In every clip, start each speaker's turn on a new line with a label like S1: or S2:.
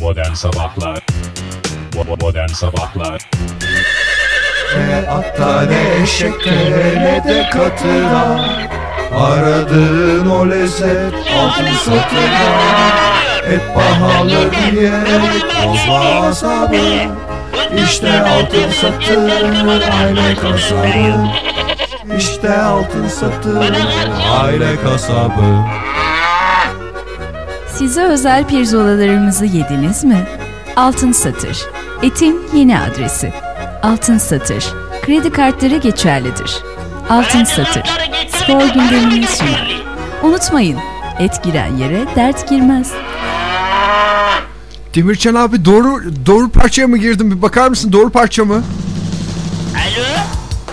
S1: Modern Sabahlar Modern Sabahlar
S2: Hatta ne eşeklere ne de katıra Aradığın o lezzet altın satıra Et pahalı diyerek bozma asabı İşte altın satır aile kasabı İşte altın satır aile kasabı
S3: Size özel pirzolalarımızı yediniz mi? Altın Satır. Etin yeni adresi. Altın Satır. Kredi kartları geçerlidir. Altın Satır. Spor gündemini sunar. Unutmayın, et giren yere dert girmez.
S4: Demircan abi doğru doğru parçaya mı girdin? Bir bakar mısın doğru parça mı?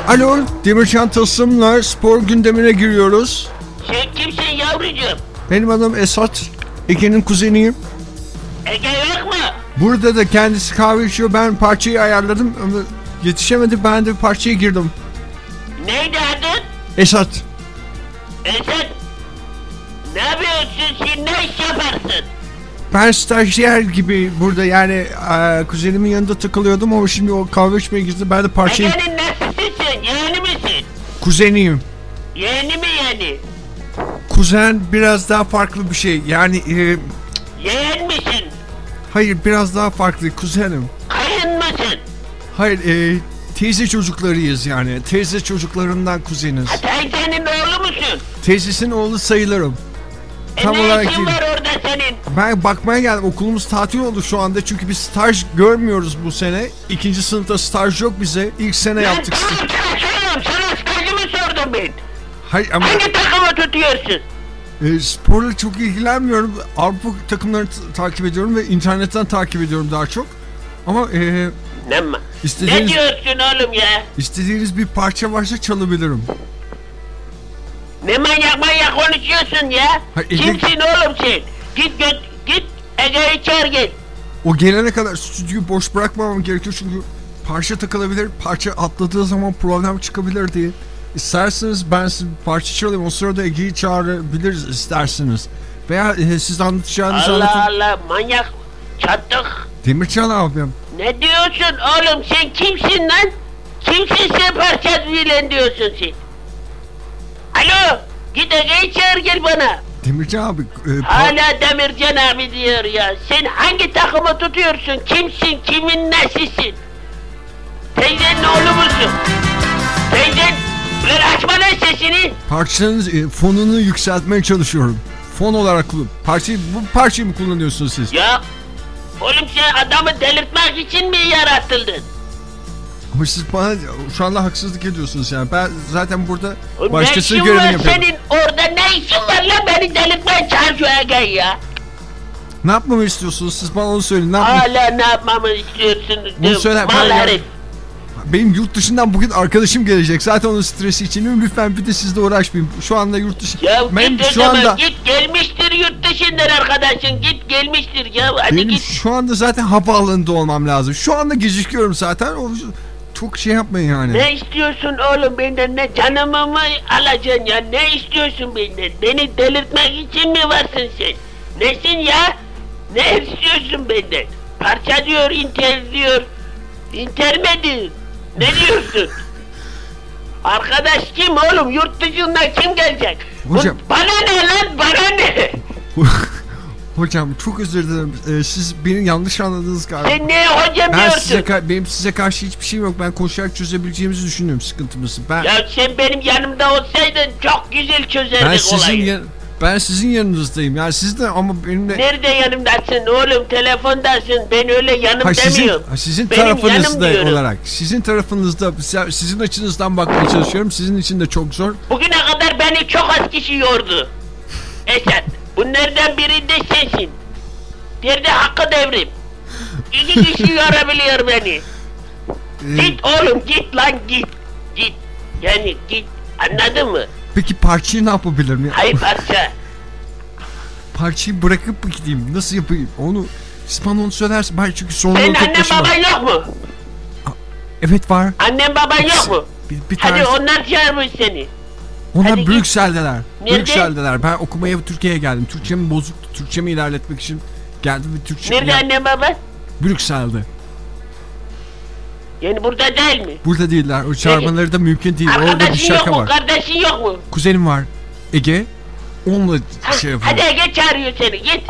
S5: Alo?
S4: Alo Demircan Tılsım'la spor gündemine giriyoruz.
S5: Sen kimsin yavrucuğum?
S4: Benim adım Esat. Ege'nin kuzeniyim.
S5: Ege yok mu?
S4: Burada da kendisi kahve içiyor. Ben parçayı ayarladım ama yetişemedi. Ben de parçaya girdim.
S5: Neydi adın?
S4: Esat.
S5: Esat. Ne yapıyorsun sen ne iş yaparsın?
S4: Ben stajyer gibi burada yani eee, kuzenimin yanında takılıyordum ama şimdi o kahve içmeye girdi. Ben de parçayı...
S5: Ege'nin nasılsın sen? Yeğeni misin?
S4: Kuzeniyim.
S5: Yeğeni mi yeğeni?
S4: Kuzen biraz daha farklı bir şey. Yani eee,
S5: Yeğen misin?
S4: hayır biraz daha farklı. Kuzenim.
S5: Kayın mısın?
S4: Hayır, e, teyze çocuklarıyız yani. Teyze çocuklarından kuzeniz.
S5: E, Sen senin oğlu musun?
S4: Teyzesinin oğlu sayılırım.
S5: E
S4: Tam
S5: ne
S4: olarak
S5: işin
S4: değil.
S5: var orada senin?
S4: Ben bakmaya geldim. Okulumuz tatil oldu şu anda çünkü biz staj görmüyoruz bu sene. İkinci sınıfta staj yok bize. İlk sene
S5: Ben
S4: yaptık. staj.
S5: tamam çalışıyorum. Sana stajı mı sordum ben?
S4: Hayır ama
S5: Hangi takımı tutuyorsun?
S4: e, sporla çok ilgilenmiyorum. Avrupa takımlarını t- takip ediyorum ve internetten takip ediyorum daha çok. Ama e,
S5: Ne, ma- ne
S4: istediğiniz,
S5: diyorsun oğlum ya?
S4: istediğiniz bir parça varsa çalabilirim.
S5: Ne manyak manyak konuşuyorsun ya?
S4: Ha, Ege-
S5: Kimsin oğlum sen? Git git git Ege'yi çağır gel.
S4: O gelene kadar stüdyoyu boş bırakmamam gerekiyor çünkü parça takılabilir, parça atladığı zaman problem çıkabilir diye. İsterseniz ben size bir parça çalayım, o sırada Ege'yi çağırabiliriz isterseniz. Veya e, siz anlatacağınızı
S5: Allah
S4: anlatın.
S5: Allah manyak çattık.
S4: Demircan abim,
S5: Ne diyorsun oğlum sen kimsin lan? Kimsin sen parça filan diyorsun sen? Alo git Ege'yi çağır gel bana.
S4: Demircan abi, e, pa-
S5: Hala Demircan abi diyor ya. Sen hangi takımı tutuyorsun? Kimsin? Kimin nesisin? Teyzenin oğlu musun? Teyzen... Ulan açma lan sesini.
S4: parçanın e, fonunu yükseltmeye çalışıyorum. Fon olarak kullan. Parçayı, bu parçayı mı kullanıyorsunuz siz?
S5: Ya oğlum sen adamı delirtmek için mi yaratıldın?
S4: Ama siz bana şu anda haksızlık ediyorsunuz yani. Ben zaten burada
S5: Oğlum
S4: başkasının
S5: ne işin var
S4: görevini yapıyorum.
S5: senin orada ne işin var lan beni delirtmeye çalışıyor Ege ya.
S4: Ne yapmamı istiyorsunuz? Siz bana onu söyleyin. Ne yapmam-
S5: Hala ne yapmamı istiyorsun?
S4: Bunu söyle,
S5: Mal
S4: ben-
S5: herif.
S4: Benim yurt dışından bugün arkadaşım gelecek. Zaten onun stresi içinim. Lütfen bir de sizle uğraşmayın. Şu anda yurt dışı...
S5: Ya
S4: benim
S5: git o
S4: şu
S5: zaman
S4: anda...
S5: git gelmiştir yurt dışından arkadaşın git gelmiştir ya hadi
S4: Benim
S5: git.
S4: şu anda zaten havaalanında olmam lazım. Şu anda gecikiyorum zaten. O, çok şey yapmayın yani.
S5: Ne istiyorsun oğlum benden ne canımı mı alacaksın ya ne istiyorsun benden beni delirtmek için mi varsın sen nesin ya ne istiyorsun benden parça diyor inter diyor inter mi diyor? ne diyorsun arkadaş kim oğlum yurt dışından kim gelecek Bu-
S4: Hocam.
S5: bana ne lan bana ne
S4: Hocam çok özür dilerim. Ee, siz beni yanlış anladınız galiba.
S5: sen ne hocam
S4: ben
S5: diyorsun
S4: size ka- benim size karşı hiçbir şeyim yok. Ben koşarak çözebileceğimizi düşünüyorum sıkıntımızı. Ben
S5: ya sen benim yanımda olsaydın çok güzel çözerdik
S4: ben sizin
S5: olayı.
S4: yan- ben sizin yanınızdayım. Yani siz de ama benimle
S5: Nerede yanımdasın oğlum telefondasın ben öyle yanım
S4: Ha, sizin,
S5: demiyorum.
S4: ha, sizin
S5: Benim
S4: tarafınızda
S5: yanım diyorum.
S4: olarak. Sizin tarafınızda si- sizin açınızdan bakmaya çalışıyorum. Sizin için de çok zor.
S5: Bugüne kadar beni çok az kişi yordu. Esat bunlardan biri de sensin. Diğeri de hakkı devrim. İki kişi yorabiliyor beni.
S4: Ee,
S5: Git oğlum git lan git. Git. Yani git. Anladın mı?
S4: peki parçayı ne yapabilirim? Ya?
S5: Hayır parça.
S4: Parçayı bırakıp mı gideyim? Nasıl yapayım? Onu siz bana onu söylersin. Ben çünkü sonra
S5: Senin
S4: tek
S5: annen
S4: başıma-
S5: baban yok mu?
S4: Evet var.
S5: Annen baban yok mu?
S4: Bir, bir
S5: Hadi
S4: tane.
S5: onlar çağırmış seni. hadi
S4: Onlar
S5: git.
S4: Brüksel'deler.
S5: Nerede?
S4: Brüksel'deler. Ben okumaya Türkiye'ye geldim. Türkçemi bozuktu. Türkçemi ilerletmek için
S6: Geldi bir Türkçe.
S5: Nerede
S6: ya-
S5: anne baba?
S6: Brüksel'de.
S5: Yani burada değil mi?
S6: Burada değiller. O çağırmaları da mümkün değil. Orada bir
S5: Arkadaşın yok
S6: şaka
S5: mu?
S6: var.
S5: Kardeşin yok mu?
S6: Kuzenim var. Ege. Onunla
S5: Ha,
S6: şey
S5: hadi
S6: yapıyor.
S5: Ege çağırıyor seni git.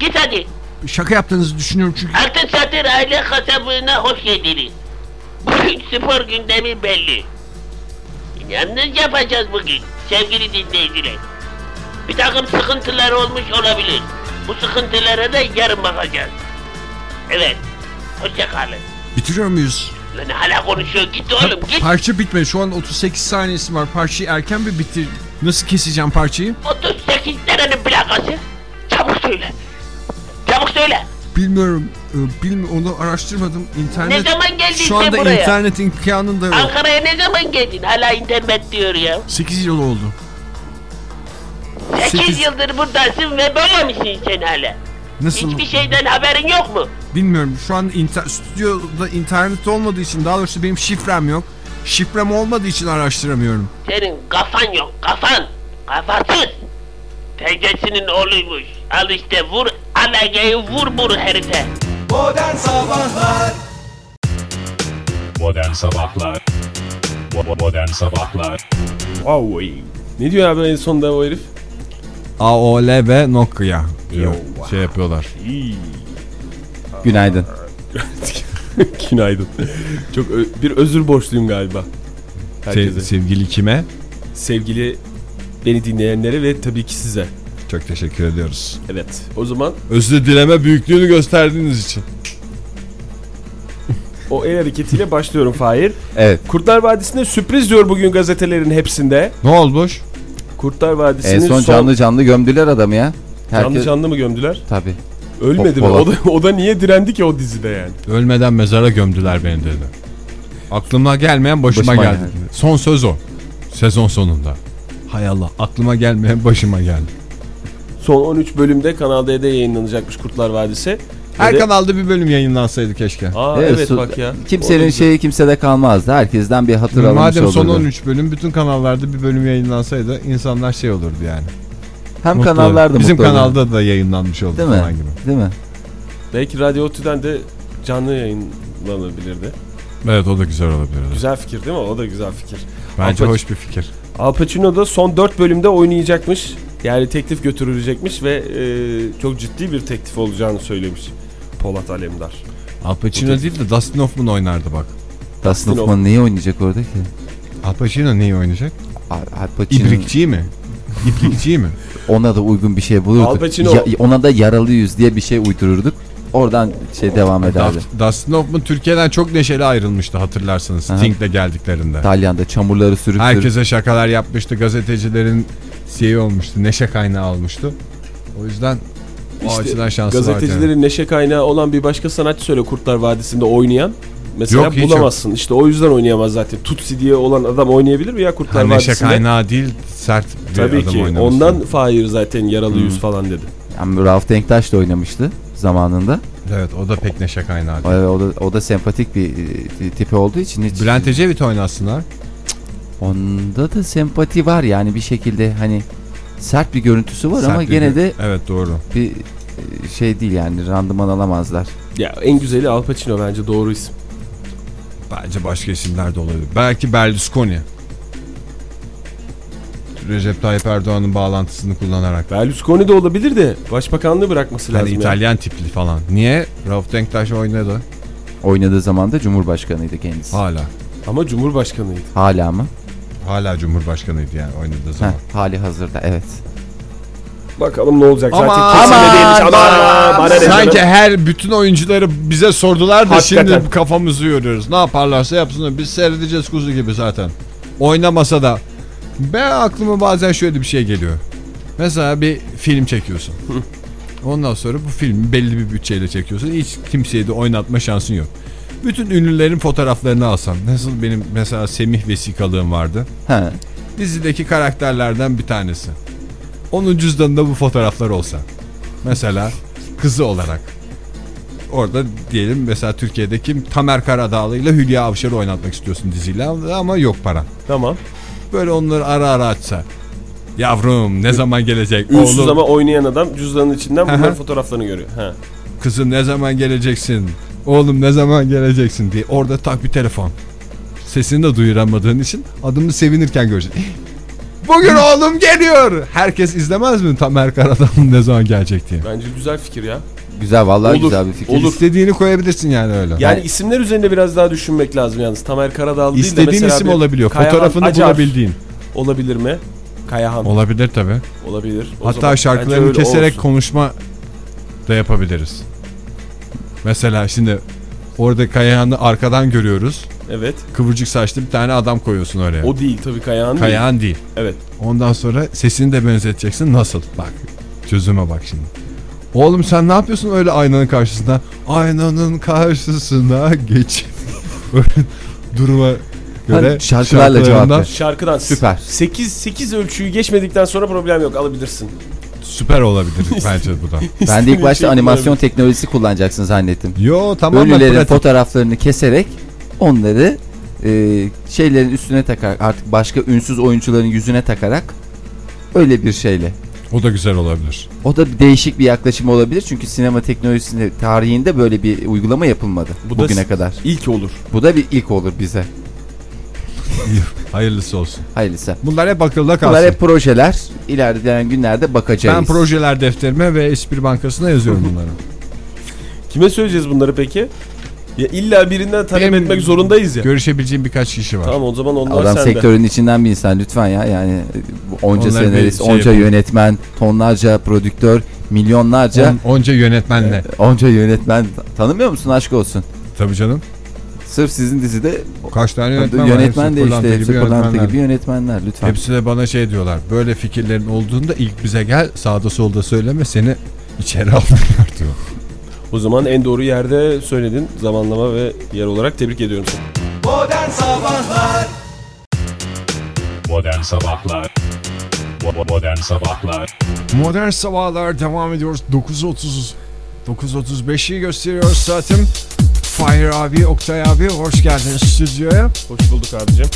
S5: Git hadi.
S6: Şaka yaptığınızı düşünüyorum çünkü.
S5: Altın Satır aile kasabına hoş geldiniz. Bugün spor gündemi belli. Yalnız yapacağız bugün sevgili dinleyiciler. Bir takım sıkıntılar olmuş olabilir. Bu sıkıntılara da yarın bakacağız. Evet. Hoşça kalın.
S6: Bitiriyor muyuz?
S5: Lan hala konuşuyor. Git oğlum git.
S6: Parça bitmedi. Şu an 38 saniyesi var. Parçayı erken bir bitir. Nasıl keseceğim parçayı?
S5: 38 nerenin plakası? Çabuk söyle. Çabuk söyle.
S6: Bilmiyorum. Ee, Bilmi onu araştırmadım. İnternet.
S5: Ne zaman geldiyse
S6: Şu anda
S5: buraya.
S6: internet imkanında yok.
S5: Ankara'ya ne zaman geldin? Hala internet diyor ya.
S6: 8 yıl oldu.
S5: 8
S6: Sekiz-
S5: yıldır buradasın ve böyle misin sen hala?
S6: Nasıl?
S5: Hiçbir şeyden haberin yok mu?
S6: Bilmiyorum. Şu an inter- stüdyoda internet olmadığı için daha doğrusu benim şifrem yok. Şifrem olmadığı için araştıramıyorum.
S5: Senin kafan yok, kafan. Kafasız. Teyzesinin oğluymuş. Al işte vur, alageyi vur bu herife.
S4: Modern Sabahlar
S1: Modern Sabahlar Modern Sabahlar
S7: Vay. Ne diyor abi en sonunda o herif?
S4: AOL ve Nokia
S7: Yo.
S4: şey yapıyorlar.
S7: İyi.
S4: Günaydın.
S7: Günaydın. Çok ö- bir özür borçluyum galiba.
S4: Se-
S7: Herkese.
S4: sevgili kime?
S7: Sevgili beni dinleyenlere ve tabii ki size.
S4: Çok teşekkür ediyoruz.
S7: Evet. O zaman
S4: Özür dileme büyüklüğünü gösterdiğiniz için.
S7: o el hareketiyle başlıyorum Fahir.
S8: Evet.
S7: Kurtlar Vadisi'nde sürpriz diyor bugün gazetelerin hepsinde.
S4: Ne olmuş?
S7: Kurtlar Vadisi'nin
S8: En son canlı canlı gömdüler adamı ya. Herkes...
S7: canlı, canlı mı gömdüler?
S8: Tabii.
S7: Ölmedi mi?
S8: Polat.
S7: O da, o da niye direndi ki o dizide yani?
S4: Ölmeden mezara gömdüler beni dedi. Aklıma gelmeyen başıma,
S8: Başıma
S4: geldi. Son söz o. Sezon sonunda. Hay Allah aklıma gelmeyen başıma geldi.
S7: Son 13 bölümde Kanal D'de yayınlanacakmış Kurtlar Vadisi.
S4: Her
S7: Ve de-
S4: kanalda bir bölüm yayınlansaydı keşke.
S7: Aa
S8: Evet,
S7: evet,
S8: su-
S7: bak ya.
S8: Kimsenin
S7: Olurdu.
S8: şeyi kimsede kalmazdı. Herkesten bir hatır alınmış
S4: Madem
S8: olurdu.
S4: son 13 bölüm bütün kanallarda bir bölüm yayınlansaydı insanlar şey olurdu yani.
S8: Hem
S4: Mutlu olurdu.
S8: kanallarda mutlu
S4: Bizim
S8: olurdu.
S4: kanalda da yayınlanmış oldu
S8: Değil
S4: falan
S8: mi?
S4: gibi.
S8: Değil mi?
S7: Belki Radyo Otü'den de canlı yayınlanabilirdi.
S4: Evet o da güzel olabilir.
S7: Güzel fikir değil mi? O da güzel fikir.
S4: Bence
S7: Al Pac-
S4: hoş bir fikir.
S7: Al Pacino da son 4 bölümde oynayacakmış. Yani teklif götürülecekmiş ve e, çok ciddi bir teklif olacağını söylemiş Polat Alemdar.
S4: Al Pacino değil de Dustin Hoffman oynardı bak.
S8: Dustin
S7: Hoffman.
S8: Hoffman niye oynayacak orada ki?
S4: Al Pacino neyi oynayacak?
S8: Al Al Pacino-
S4: İbrikçi mi? İbrikçi mi?
S8: ona da uygun bir şey bulurduk.
S7: Al Pacino-
S8: Ya- ona da yaralı yüz diye bir şey uydururduk. Oradan şey devam ederdi.
S4: Dustin Hoffman Türkiye'den çok neşeli ayrılmıştı hatırlarsanız.
S8: Aha.
S4: Sting'le geldiklerinde.
S8: İtalyan'da çamurları sürüp sürüp.
S4: Herkese şakalar yapmıştı. Gazetecilerin şeyi olmuştu. Neşe kaynağı olmuştu. O yüzden o açıdan şansı var.
S7: gazetecilerin neşe kaynağı olan bir başka sanatçı söyle Kurtlar Vadisi'nde oynayan. Mesela
S4: Yok, hiç yok.
S7: bulamazsın. İşte o yüzden oynayamaz zaten. Tutsi diye olan adam oynayabilir mi ya
S4: Ha,
S7: Kurtlar
S4: neşe
S7: Vadisi'nde?
S4: kaynağı değil sert bir
S7: Tabii
S4: adam
S7: ki.
S4: oynaması.
S7: Ondan Fahir zaten yaralı yüz falan dedi.
S8: Yani Rauf Denktaş da oynamıştı zamanında.
S4: Evet o da pek neşe kaynağı
S8: O,
S4: değil.
S8: o da, o da sempatik bir e, tipi olduğu için hiç
S4: Bülent Ecevit oynasınlar.
S8: Onda da sempati var yani bir şekilde hani sert bir görüntüsü var
S4: Sert
S8: ama
S4: bir
S8: gene
S4: gö-
S8: de
S4: Evet doğru.
S8: bir e, şey değil yani randıman alamazlar.
S7: Ya en güzeli Al Pacino bence doğru isim.
S4: Bence başka isimler de olabilir. Belki Berlusconi. Recep Tayyip Erdoğan'ın bağlantısını kullanarak.
S7: Berlusconi de olabilir de başbakanlığı bırakması lazım.
S4: Hani
S7: ya.
S4: İtalyan tipli falan. Niye? Rauf Denktaş oynadı.
S8: Oynadığı zaman da cumhurbaşkanıydı kendisi.
S4: Hala.
S7: Ama cumhurbaşkanıydı.
S8: Hala mı?
S4: Hala Cumhurbaşkanıydı yani oynadığı zaman.
S8: Heh, hali hazırda evet.
S7: Bakalım ne olacak
S4: Aman,
S7: zaten kesin de değilmiş. Aman, bana ne
S4: Sanki
S7: canım?
S4: her bütün oyuncuları bize sordular da
S7: Hakikaten.
S4: şimdi kafamızı yoruyoruz. Ne yaparlarsa yapsınlar. Biz seyredeceğiz kuzu gibi zaten. Oynamasa da. Ben aklıma bazen şöyle bir şey geliyor. Mesela bir film çekiyorsun. Ondan sonra bu filmi belli bir bütçeyle çekiyorsun. Hiç kimseyi de oynatma şansın yok. Bütün ünlülerin fotoğraflarını alsan. Nasıl benim mesela Semih vesikalığım vardı.
S8: Ha,
S4: dizideki karakterlerden bir tanesi. Onun cüzdanında bu fotoğraflar olsa. Mesela kızı olarak. Orada diyelim mesela Türkiye'de kim Tamer Karadağlı ile Hülya Avşar'ı oynatmak istiyorsun diziyle ama yok paran.
S7: Tamam.
S4: Böyle onları ara ara açsa.
S2: Yavrum ne zaman gelecek?
S7: Ünsüz
S2: Oğlum
S7: ama oynayan adam cüzdanın içinden
S2: Hı
S7: bunların
S2: hı.
S7: fotoğraflarını görüyor. Ha.
S2: kızım ne zaman geleceksin? Oğlum ne zaman geleceksin diye orada tak bir telefon. Sesini de duyuramadığın için adımı sevinirken görecek. Bugün oğlum geliyor. Herkes izlemez mi Tamer Karadağ'ın ne zaman gelecek diye.
S7: Bence güzel fikir ya.
S8: Güzel vallahi
S7: Olur,
S8: güzel bir fikir.
S7: olur.
S2: İstediğini koyabilirsin yani öyle.
S7: Yani isimler üzerinde biraz daha düşünmek lazım yalnız. Tamer Karadağlı değil de
S2: İstediğin
S7: mesela
S2: isim
S7: bir
S2: olabiliyor.
S7: Kayahan
S2: Fotoğrafını
S7: Acar
S2: bulabildiğin.
S7: Olabilir mi? Kayahan
S2: Olabilir tabi.
S7: olabilir. O zaman
S2: Hatta
S7: bence
S2: şarkılarını
S7: öyle
S2: keserek
S7: olsun.
S2: konuşma da yapabiliriz. Mesela şimdi orada Kayahan'ı arkadan görüyoruz.
S7: Evet.
S2: Kıvırcık saçlı bir tane adam koyuyorsun oraya.
S7: O değil tabii Kayahan değil.
S2: Kayahan değil.
S7: Evet.
S2: Ondan sonra sesini de benzeteceksin. Nasıl? Bak. Çözüme bak şimdi. Oğlum sen ne yapıyorsun öyle aynanın karşısında? Aynanın karşısına geç. Öyle duruma göre
S8: Hani şarkılarla cevap
S2: şarkılarından
S8: ver.
S7: Şarkıdan
S8: Süper.
S7: 8 8 ölçüyü geçmedikten sonra problem yok. Alabilirsin.
S2: Süper olabilir bence bu da.
S8: Ben de
S7: İstediğin
S8: ilk başta
S7: şeyi
S8: animasyon teknolojisi kullanacaksın zannettim.
S2: Yo tamam
S8: Ölülerin fotoğraflarını keserek onları e, şeylerin üstüne takarak artık başka ünsüz oyuncuların yüzüne takarak öyle bir şeyle.
S2: O da güzel olabilir.
S8: O da bir değişik bir yaklaşım olabilir çünkü sinema teknolojisinde tarihinde böyle bir uygulama yapılmadı
S7: Bu da
S8: bugüne
S7: s-
S8: kadar.
S7: İlk olur.
S8: Bu da bir ilk olur bize.
S2: Hayırlısı olsun.
S8: Hayırlısı.
S2: Bunlar hep akılda kalsın.
S8: Bunlar hep şey- projeler. İlerleyen günlerde bakacağız.
S2: ben projeler defterime ve espri bankasına yazıyorum bunları.
S7: Kime söyleyeceğiz bunları peki? Ya illa birinden talep
S2: Benim-
S7: etmek zorundayız ya.
S2: Görüşebileceğim birkaç kişi var.
S7: Tamam o zaman onlar
S8: Adam
S7: sende.
S8: sektörün içinden bir insan lütfen ya yani e, bu onca
S2: Onlar bir
S8: senarist,
S2: şey
S8: onca
S2: yapalım.
S8: yönetmen, tonlarca prodüktör, milyonlarca
S2: On- onca yönetmenle.
S8: onca yönetmen tanımıyor musun aşk olsun?
S2: Tabii canım.
S8: Sırf sizin dizide
S2: Kaç tane yönetmen,
S8: yönetmen,
S2: var? Hepsi
S8: de işte hepsi pırlanta
S2: yönetmenler.
S8: gibi yönetmenler lütfen.
S2: Hepsi de bana şey diyorlar. Böyle fikirlerin olduğunda ilk bize gel sağda solda söyleme seni içeri alırlar diyor.
S7: O zaman en doğru yerde söyledin. Zamanlama ve yer olarak tebrik ediyorum seni.
S1: Modern Sabahlar Bo- Modern Sabahlar
S4: Modern sabahlar devam ediyoruz. 9.30 9.35'i gösteriyor saatim. Fahir abi, Oktay abi hoş geldiniz stüdyoya.
S7: Hoş bulduk abicim.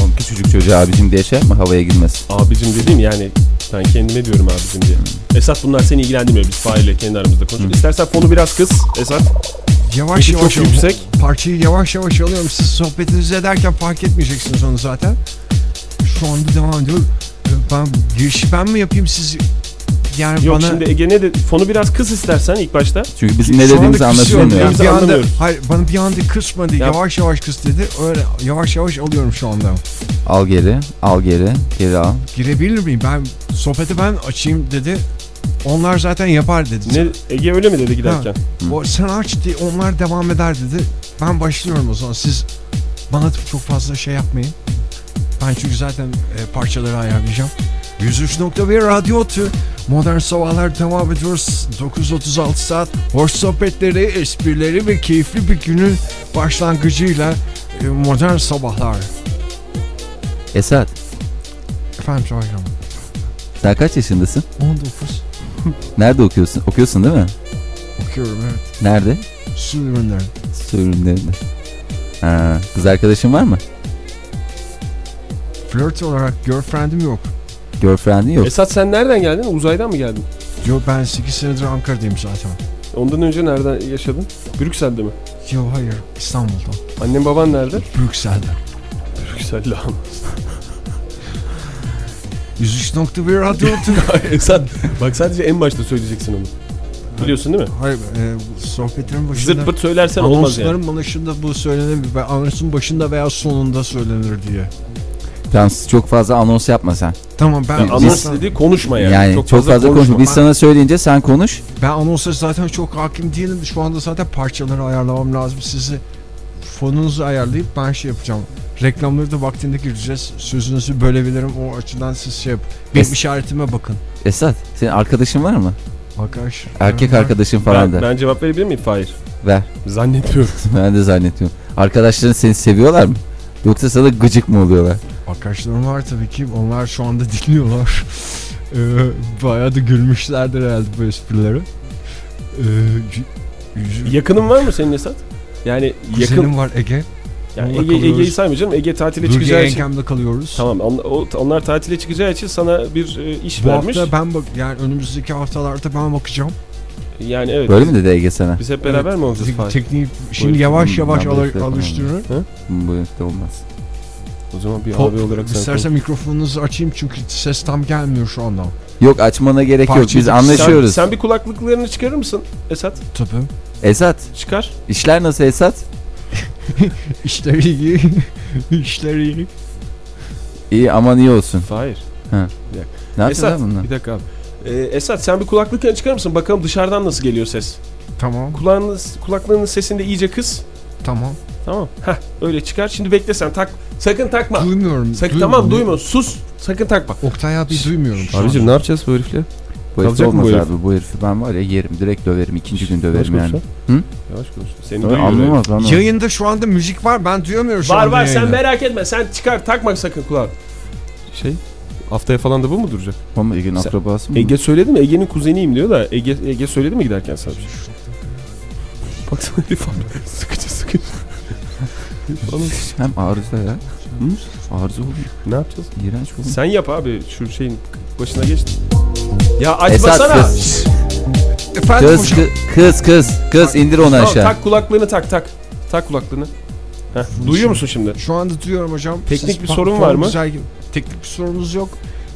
S8: Oğlum küçücük çocuğa abicim diye şey yapma havaya girmez.
S7: Abicim dediğim yani ben kendime diyorum abicim diye. Esat bunlar seni ilgilendirmiyor. Biz faile kendi aramızda konuşuyoruz. İstersen fonu biraz kız Esat.
S4: Yavaş
S7: Başı
S4: yavaş
S7: çok yüksek.
S4: Parçayı yavaş yavaş alıyorum. Siz sohbetinizi ederken fark etmeyeceksiniz onu zaten. Şu anda devam ediyor. Ben girişi ben mi yapayım siz? Yani
S7: Yok
S4: bana...
S7: şimdi Ege ne dedi? Fonu biraz kız istersen ilk başta.
S8: Çünkü bizim ne
S4: Şu anda
S8: dediğimiz
S4: kısıyorum
S8: anlaşılmıyor.
S4: ya.
S7: Biz
S4: Bir anda,
S7: anlamıyoruz.
S4: hayır bana bir anda kısmadı.
S7: Yap.
S4: Yavaş yavaş kıs dedi. Öyle yavaş yavaş alıyorum şu anda.
S8: Al geri, al geri, geri al.
S4: Girebilir miyim? Ben sohbeti ben açayım dedi. Onlar zaten yapar dedi.
S7: Ne Ege öyle mi dedi giderken?
S4: O, sen aç diye onlar devam eder dedi. Ben başlıyorum o zaman. Siz bana çok fazla şey yapmayın. Ben çünkü zaten e, parçaları ayarlayacağım. 103.1 Radyo Otü. Modern Sabahlar devam ediyoruz. 9.36 saat. Hoş sohbetleri, esprileri ve keyifli bir günün başlangıcıyla e, Modern Sabahlar.
S8: Esat
S4: Efendim Şahin
S8: sen kaç yaşındasın?
S4: 19.
S8: Nerede okuyorsun? Okuyorsun değil mi?
S4: Okuyorum evet.
S8: Nerede?
S4: Su ürünleri.
S8: Su ürünlerinde. Ha, kız arkadaşın var mı?
S4: Flört olarak girlfriend'im yok.
S8: Girlfriend'in yok.
S7: Esat sen nereden geldin? Uzaydan mı geldin?
S4: Yo ben 8 senedir Ankara'dayım zaten.
S7: Ondan önce nereden yaşadın? Brüksel'de mi?
S4: Yo hayır İstanbul'da.
S7: Annen baban nerede?
S4: Brüksel'de.
S7: Brüksel'de abi.
S4: 103.1 radyo Otun.
S7: Esat bak sadece en başta söyleyeceksin onu. Biliyorsun değil mi?
S4: Hayır e, bu sohbetlerin başında.
S7: Zırt pırt söylersen olmaz yani.
S4: Anonsların başında bu söylenir. ve Anonsun başında veya sonunda söylenir diye.
S8: Yalnız çok fazla anons yapma sen.
S4: Tamam ben
S7: Yani anons
S4: anonsla-
S7: dediği konuşma yani.
S8: Yani, çok, fazla, konuşma. Biz sana söyleyince sen konuş.
S4: ben anonslara zaten çok hakim değilim. Şu anda zaten parçaları ayarlamam lazım. Sizi fonunuzu ayarlayıp ben şey yapacağım. Reklamları da vaktinde gireceğiz. Sözünüzü bölebilirim. O açıdan siz şey yap. Benim
S8: Es-
S4: işaretime bakın.
S8: Esat senin arkadaşın var mı?
S4: Arkadaş.
S8: Erkek
S4: ben-
S8: arkadaşın falan
S7: Ben,
S8: da.
S7: ben cevap verebilir miyim? Hayır.
S8: Ver.
S7: Zannetmiyorum.
S8: Ben de zannetmiyorum. Arkadaşların seni seviyorlar mı? Yoksa sana gıcık mı oluyorlar?
S4: Arkadaşlarım var tabii ki. Onlar şu anda dinliyorlar. Ee, bayağı da gülmüşlerdir herhalde bu esprilere. Ee, y- yüzüm-
S7: Yakının var mı senin Esat? Yani yakın
S4: Kuzenim var Ege.
S7: Yani
S2: Onunla
S7: Ege, Ege'yi
S2: kalıyoruz.
S7: saymayacağım. Ege tatile
S2: Durge
S7: çıkacağı için.
S2: Enkem'de kalıyoruz.
S7: şey- Tamam on- o- onlar tatile çıkacağı için sana bir e, iş
S4: Bu
S7: vermiş.
S4: hafta ben bak yani önümüzdeki haftalarda ben bakacağım.
S7: Yani evet.
S8: Böyle mi dedi Ege sana?
S7: Biz hep beraber mi olacağız?
S4: Tek-
S7: Fahir?
S4: Tekniği şimdi
S8: Buyur.
S4: yavaş
S8: Hmm,
S4: yavaş
S8: ben
S4: al-
S8: böyle şey
S4: alıştırıyorum.
S8: Hı, Bu işte olmaz.
S7: O zaman bir abi olarak sen
S4: İstersen mikrofonunuzu açayım çünkü ses tam gelmiyor şu anda.
S8: Yok açmana gerek yok. Biz
S4: Parçacık-
S7: konuş. Sen,
S8: anlaşıyoruz.
S7: sen bir kulaklıklarını çıkarır mısın Esat?
S4: Tabii.
S8: Esat.
S7: Çıkar.
S8: işler nasıl Esat?
S4: İşler iyi. İşler iyi.
S8: İyi aman iyi olsun.
S7: Hayır.
S8: Ne yapacağız
S7: Esat
S8: lan bundan?
S7: bir dakika abi. Ee, Esat sen bir kulaklıklarını çıkarır mısın? Bakalım dışarıdan nasıl geliyor ses.
S4: Tamam
S7: Kulağının, kulaklığının sesini de iyice kız.
S4: tamam.
S7: Tamam. Heh öyle çıkar. Şimdi bekle sen tak. Sakın takma.
S4: Duymuyorum.
S7: Sakın
S4: duymuyorum.
S7: Ah. tamam duyma. Sus. Sakın takma.
S4: Oktay abi duymuyorum. şu an.
S7: ne yapacağız bu herifle?
S8: Bu herif
S7: kalacak mı
S8: olmaz
S7: bu herif?
S8: abi. Bu herifi ben var ya yerim. Direkt döverim. ikinci gün döverim yani. Hı?
S7: Yavaş konuş. Seni
S8: Tabii,
S7: duyuyor.
S8: Anlamaz anlamaz.
S4: Yayında şu anda müzik var ben duyamıyorum şu
S7: Var
S4: anda
S7: var sen
S4: yayını.
S7: merak etme. Sen çıkar takma sakın kulağını. Şey haftaya falan da bu mu duracak?
S8: Ama Ege'nin
S7: Sen-
S8: akrabası mı?
S7: Ege söyledi mi? Ege'nin kuzeniyim diyor da Ege Ege söyledi mi giderken sana bir şey? Baksana herif abi. Sıkıcı sıkıcı. Bana-
S8: Hem arıza ya. Hı? Arıza olur.
S7: ne yapacağız?
S8: İğrenç olur.
S7: Sen yap abi şu şeyin başına geç. Ya açmasana.
S8: Esat
S7: basana.
S8: kız.
S4: Efendim
S8: Kız,
S4: hocam.
S8: kız kız kız kız indir onu
S7: Tamam,
S8: aşağı.
S7: tak kulaklığını tak tak. Tak kulaklığını. Heh, duyuyor musun şimdi?
S4: Şu anda duyuyorum hocam.
S7: Teknik
S4: Siz
S7: bir
S4: pa-
S7: sorun var mı?
S4: güzel gibi. Teknik bir sorunumuz yok.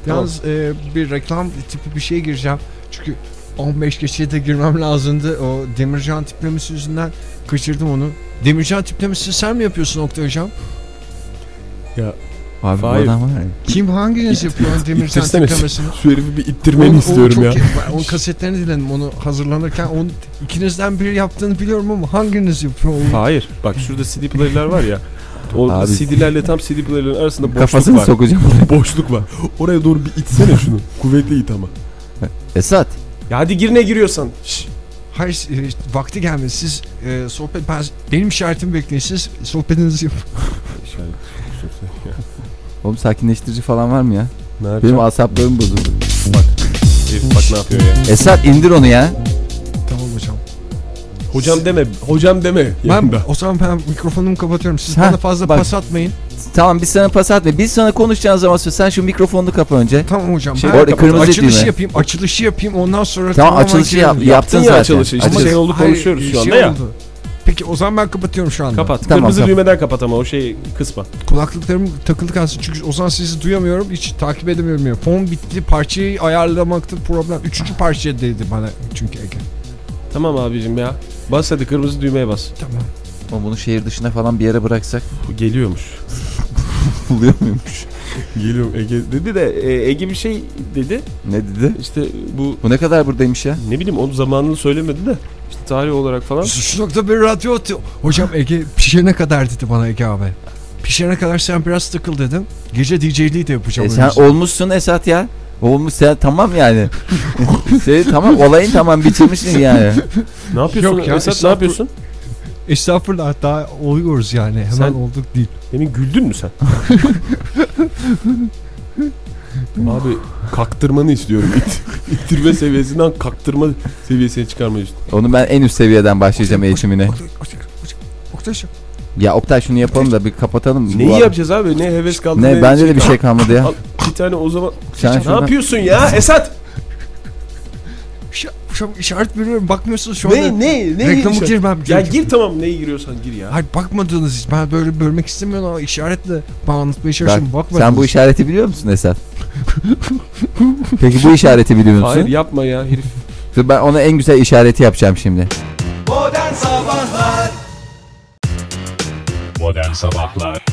S4: Yalnız e, bir reklam tipi bir şey gireceğim. Çünkü 15 geçeye de girmem lazımdı. O Demircan tiplemesi yüzünden kaçırdım onu. Demircan tiplemesini sen mi yapıyorsun Oktay hocam?
S8: Abi bu
S7: Hayır.
S8: adam var ya.
S4: Kim hanginiz yapıyor onu Demircan
S7: İttirsene.
S4: tiplemesini?
S7: Şu herifi bir
S4: Onu-
S7: ittirmeni
S4: onu çok- ben Onun kasetlerini dinledim onu hazırlanırken. Onu ikinizden biri yaptığını biliyorum ama hanginiz yapıyor onu?
S7: Hayır. Bak şurada CD player'lar var ya. O
S8: Abi-
S7: CD'lerle tam CD player'ların arasında boşluk
S8: Kafasını
S7: var.
S8: sokacağım.
S7: boşluk var. Oraya doğru bir itsene şunu. Kuvvetli it ama.
S8: Esat.
S7: Ya hadi gir ne giriyorsan. Şşş.
S4: Hayır e, vakti gelmedi. Siz e, sohbet ben, benim işaretimi bekleyin. Siz sohbetinizi yapın.
S8: Oğlum sakinleştirici falan var mı ya?
S7: Ne yapacağım?
S8: Benim asaplarım bozuldu.
S7: Herif bak ne yapıyor ya.
S8: Esat indir onu ya.
S4: Tamam hocam.
S7: Hocam deme. Hocam deme.
S4: Ben
S7: Yakında.
S4: o zaman ben mikrofonumu kapatıyorum. Siz
S8: Heh,
S4: bana fazla
S8: bak.
S4: pas atmayın.
S8: Tamam biz sana pas atmayız. Biz sana konuşacağın zaman söz. Sen şu mikrofonunu kapa önce.
S4: Tamam hocam.
S8: Şey,
S4: ben
S8: orada kırmızı
S4: açılışı
S8: düğme.
S4: yapayım. Açılışı yapayım. Ondan sonra
S8: Tamam
S4: tamamen
S8: açılışı yap,
S4: girelim.
S8: yaptın
S7: ya
S8: zaten.
S7: açılışı işte.
S8: Açılış.
S7: Şey oldu,
S4: Hayır,
S7: konuşuyoruz
S4: e,
S7: şu anda ya.
S4: oldu. Peki o zaman ben kapatıyorum şu anda.
S7: Kapat.
S8: Tamam,
S7: Kırmızı
S8: kapat.
S7: düğmeden kapat ama o şeyi kısma.
S4: Kulaklıklarım takılı kalsın çünkü o zaman sizi duyamıyorum. Hiç takip edemiyorum. ya. Fon bitti. Parçayı ayarlamakta problem. Üçüncü parçaya değdi bana çünkü Ege.
S7: Tamam abicim ya. Bas hadi kırmızı düğmeye bas.
S4: Tamam.
S8: Ama bunu şehir dışına falan bir yere bıraksak
S7: Bu Geliyormuş.
S8: buluyor muymuş?
S7: Geliyorum Ege dedi de e, Ege bir şey dedi.
S8: Ne dedi?
S7: İşte bu
S8: Bu ne kadar buradaymış ya?
S7: ne bileyim onu zamanını söylemedi de işte tarih olarak falan.
S4: Şu nokta bir radyo atıyor. Hocam Ege pişene kadar dedi bana Ege abi. Pişene kadar sen biraz takıl dedim. Gece DJ'liği de yapacağım.
S8: E
S4: o
S8: sen
S4: yüzden.
S8: olmuşsun Esat ya. Olmuş sen tamam yani. Seni tamam olayın tamam bitirmişsin yani.
S7: Ne yapıyorsun?
S4: Yok ya,
S7: Esat ne
S4: estağfurullah.
S7: yapıyorsun?
S4: Estağfurullah daha oluyoruz yani. Hemen
S7: Sen-
S4: olduk değil.
S7: Demin güldün mü sen? Abi kaktırmanı istiyorum. İt, ittirme seviyesinden kaktırma seviyesine çıkarmayı istiyorum.
S8: Onu ben en üst seviyeden başlayacağım eğitimine.
S4: Oktay, Oktay, Oktay, Oktay şu- Ya
S8: Ya Oktay şunu yapalım da bir kapatalım.
S7: Neyi
S8: Bu-
S7: yapacağız abi? Ne heves kaldı?
S8: Ne bende de bir
S7: kaldı.
S8: şey kalmadı ya.
S7: Al, Bir tane o zaman.
S8: Sen
S7: ne
S8: şuradan-
S7: yapıyorsun ya Esat?
S4: şu- Hocam işaret veriyorum bakmıyorsun şu anda.
S7: Ne ne ne?
S4: Reklamı girmem.
S7: Ya
S4: çünkü.
S7: gir tamam neye giriyorsan gir ya.
S4: Hayır bakmadınız hiç. Ben böyle bölmek istemiyorum ama işaretle ben anlatmaya çalışıyorum.
S8: Bak,
S4: Bakmadınız.
S8: sen bu işareti biliyor musun Esat? Peki bu işareti biliyor musun?
S7: Hayır yapma ya herif.
S8: Dur ben ona en güzel işareti yapacağım şimdi.
S1: Modern Sabahlar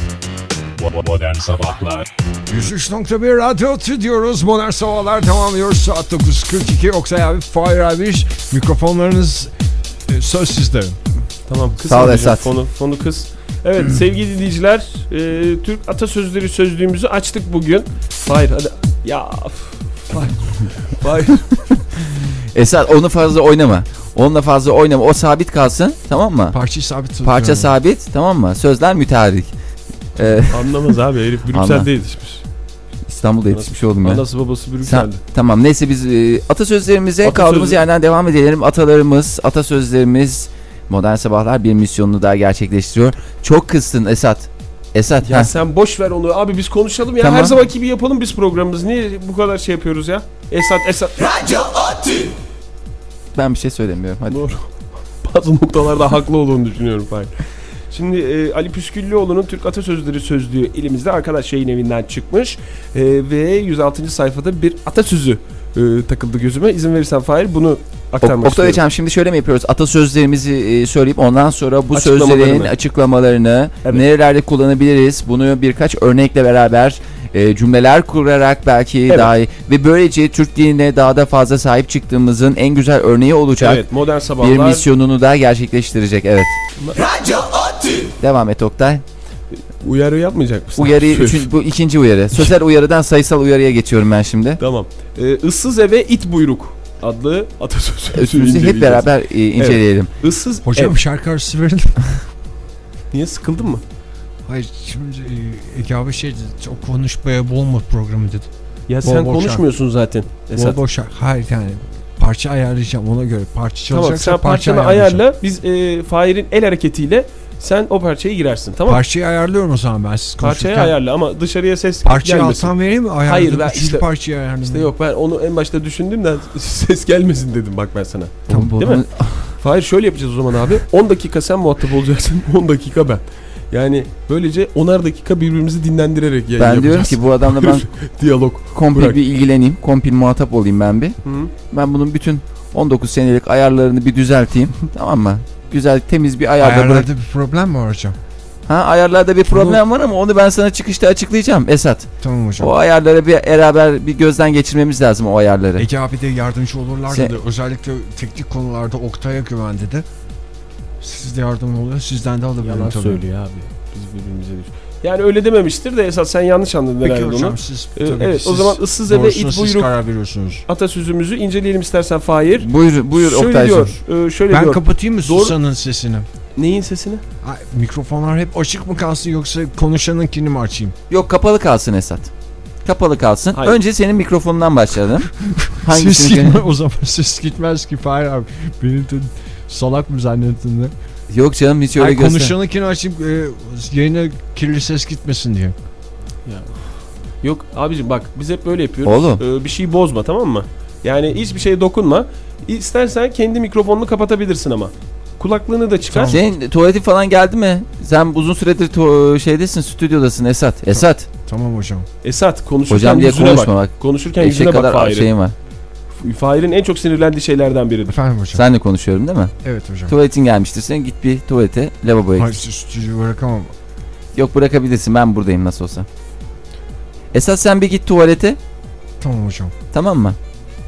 S1: Bo- bo- Modern Sabahlar
S4: 103.1 Radyo Tü diyoruz. Modern Sabahlar devam ediyor. Saat 9.42. Oktay abi, Fahir abi. Mikrofonlarınız e, söz sizde.
S7: Tamam kız.
S8: Sağ ol
S7: abicim,
S8: Esat. Hmm.
S7: Fonu, fonu kız. Evet sevgili dinleyiciler e, Türk atasözleri sözlüğümüzü açtık bugün. Hayır hadi. Ya. of. Hayır. Hayır.
S8: Esat onu fazla oynama. Onunla fazla oynama. O sabit kalsın tamam mı?
S4: Parçayı sabit tutuyorum.
S8: Parça sabit tamam mı? Sözler müteharrik. Ee,
S7: Anlamaz abi herif
S8: Anla.
S7: Brüksel'de yetişmiş.
S8: İstanbul'da yetişmiş oldum ya.
S7: Anası babası
S8: Sen,
S7: Brüksel'de.
S8: tamam neyse biz e, atasözlerimize
S7: Atasözü-
S8: kaldığımız yerden devam edelim. Atalarımız, atasözlerimiz Modern Sabahlar bir misyonunu daha gerçekleştiriyor. Çok kızsın Esat. Esat.
S7: Ya
S8: heh.
S7: sen boş ver onu. Abi biz konuşalım ya.
S8: Tamam.
S7: Her zamanki gibi yapalım biz programımızı. Niye bu kadar şey yapıyoruz ya? Esat Esat.
S8: Ben bir şey söylemiyorum. Hadi.
S7: Doğru. Bazı noktalarda haklı olduğunu düşünüyorum Fahir. Şimdi e, Ali Püsküllüoğlu'nun Türk Atasözleri sözlüğü elimizde arkadaş şeyin evinden çıkmış E, ve 106. sayfada bir atasözü e, takıldı gözüme. İzin verirsen Fahir bunu
S8: Ok-
S7: aktarmak
S8: Oktay
S7: istiyorum.
S8: Hocam şimdi şöyle mi yapıyoruz? Atasözlerimizi e, söyleyip ondan sonra bu
S7: Açıklamalarını.
S8: sözlerin açıklamalarını
S7: Evet.
S8: nerelerde kullanabiliriz? Bunu birkaç örnekle beraber e, cümleler kurarak belki
S7: Evet.
S8: daha iyi. Ve böylece Türk diline daha da fazla sahip çıktığımızın en güzel örneği olacak.
S7: Evet modern
S8: Bir
S7: sabahlar.
S8: misyonunu da gerçekleştirecek. Evet. Devam et Oktay.
S7: Uyarı yapmayacak mısın?
S8: Uyarı
S7: Söz.
S8: üçün- bu ikinci uyarı. Sosyal uyarıdan sayısal uyarıya geçiyorum ben şimdi.
S7: Tamam. E, ıssız eve it buyruk adlı atasözü.
S8: Üstümüzü hep
S7: inceleyeceğiz.
S8: beraber e, inceleyelim.
S7: Issız
S4: Hocam
S7: ev.
S4: şarkı arası verin.
S7: Niye sıkıldın mı?
S4: Hayır şimdi e, Ege abi şey dedi. Çok konuşmaya bulma programı dedi.
S7: Ya
S4: Bol
S7: sen
S4: bol
S7: konuşmuyorsun zaten
S8: E,
S7: Esat.
S4: Bol bol şarkı. Hayır yani parça ayarlayacağım ona göre. Parça
S7: Tamam
S4: çalacaksa
S7: sen
S4: parça
S7: parçanı
S4: şey ayarlayacağım.
S7: ayarla. Biz e, Fahir'in el hareketiyle sen o parçayı girersin tamam mı?
S4: Parçayı ayarlıyorum o zaman ben siz konuşurken.
S7: Parçayı ayarla ama dışarıya ses
S4: Parçayı
S7: gelmesin.
S4: alttan vereyim mi? Ayarladım.
S7: Hayır, ben
S4: Üçüncü
S7: işte-
S4: parçayı ayarladım.
S7: İşte yok ben onu en başta düşündüm de ses gelmesin dedim bak ben sana.
S8: Tamam.
S7: Değil mi? Fahir şöyle yapacağız o zaman abi. 10 dakika sen muhatap olacaksın 10 dakika ben. Yani böylece 10'ar dakika birbirimizi dinlendirerek yayın
S8: Ben diyorum
S7: yapacağız.
S8: ki bu adamla ben
S7: Diyalog.
S8: Kompil
S7: Bırak.
S8: bir ilgileneyim. Kompil muhatap olayım ben bir.
S7: Hı.
S8: Ben bunun bütün 19 senelik ayarlarını bir düzelteyim. tamam mı? Güzel temiz bir ayarda bırak.
S4: Ayarlarda bir problem mi var hocam?
S8: Ha ayarlarda bir problem var ama onu ben sana çıkışta açıklayacağım Esat.
S4: Tamam hocam.
S8: O ayarları bir beraber bir gözden geçirmemiz lazım o
S7: E-
S8: ayarları.
S4: Ege abi de yardımcı olurlar
S8: Sen-
S4: dedi. Özellikle teknik konularda Oktay'a güven dedi. Siz de yardımcı olun. Sizden de alabilirim
S7: Yalan
S4: tabii.
S7: söylüyor abi. Biz birbirimize düşün. Yani öyle dememiştir de esas sen yanlış anladın
S4: Peki
S7: herhalde onu.
S4: hocam siz
S7: Ee,
S4: tabii
S7: evet
S4: ki
S7: o
S4: siz
S7: zaman ıssız eve
S4: doğrusuna
S7: it
S4: siz
S7: buyruk
S4: karar veriyorsunuz.
S7: atasözümüzü inceleyelim istersen Fahir.
S8: Buyur buyur
S7: şöyle
S8: Oktay'cığım.
S7: diyor. e, şöyle
S4: Ben
S7: diyor.
S4: kapatayım mı
S7: Doğru-
S4: Susan'ın sesini?
S7: Neyin sesini?
S4: Ay, mikrofonlar hep açık mı kalsın yoksa konuşanınkini mi açayım?
S8: Yok kapalı kalsın Esat. Kapalı kalsın.
S7: Hayır.
S8: Önce senin mikrofonundan başlayalım.
S4: ses
S8: Hangisini?
S4: gitmez o zaman ses gitmez ki Fahir abi. Beni de salak mı zannettin de?
S8: Yok canım hiç öyle
S4: Ay,
S8: göster.
S4: konuşanınkini açayım e, yayına kirli ses gitmesin diye.
S7: Yok abicim bak biz hep böyle yapıyoruz.
S8: Oğlum.
S7: Ee, bir şey bozma tamam mı? Yani hiçbir şeye dokunma. İstersen kendi mikrofonunu kapatabilirsin ama. Kulaklığını da çıkar. E,
S8: Senin tuvaletin falan geldi mi? Sen uzun süredir tu- şeydesin stüdyodasın Esat. Esat.
S4: Tamam hocam.
S7: Esat konuşurken
S8: Hocam diye
S7: yüzüne
S8: konuşma
S7: bak. şey-
S8: bak.
S7: Konuşurken
S8: Eşek
S7: yüzüne bak
S8: kadar
S7: Fahir'in.
S8: şeyim var.
S7: Fahir'in en çok sinirlendiği şeylerden biridir.
S4: Efendim hocam.
S8: Senle konuşuyorum değil mi?
S4: Evet hocam.
S8: Tuvaletin gelmiştir senin. Git bir tuvalete, lavaboya
S4: Hayır
S8: git.
S4: siz stüdyoyu bırakamam.
S8: Yok bırakabilirsin ben buradayım nasıl olsa. Esas sen bir git tuvalete.
S4: Tamam hocam.
S8: Tamam mı?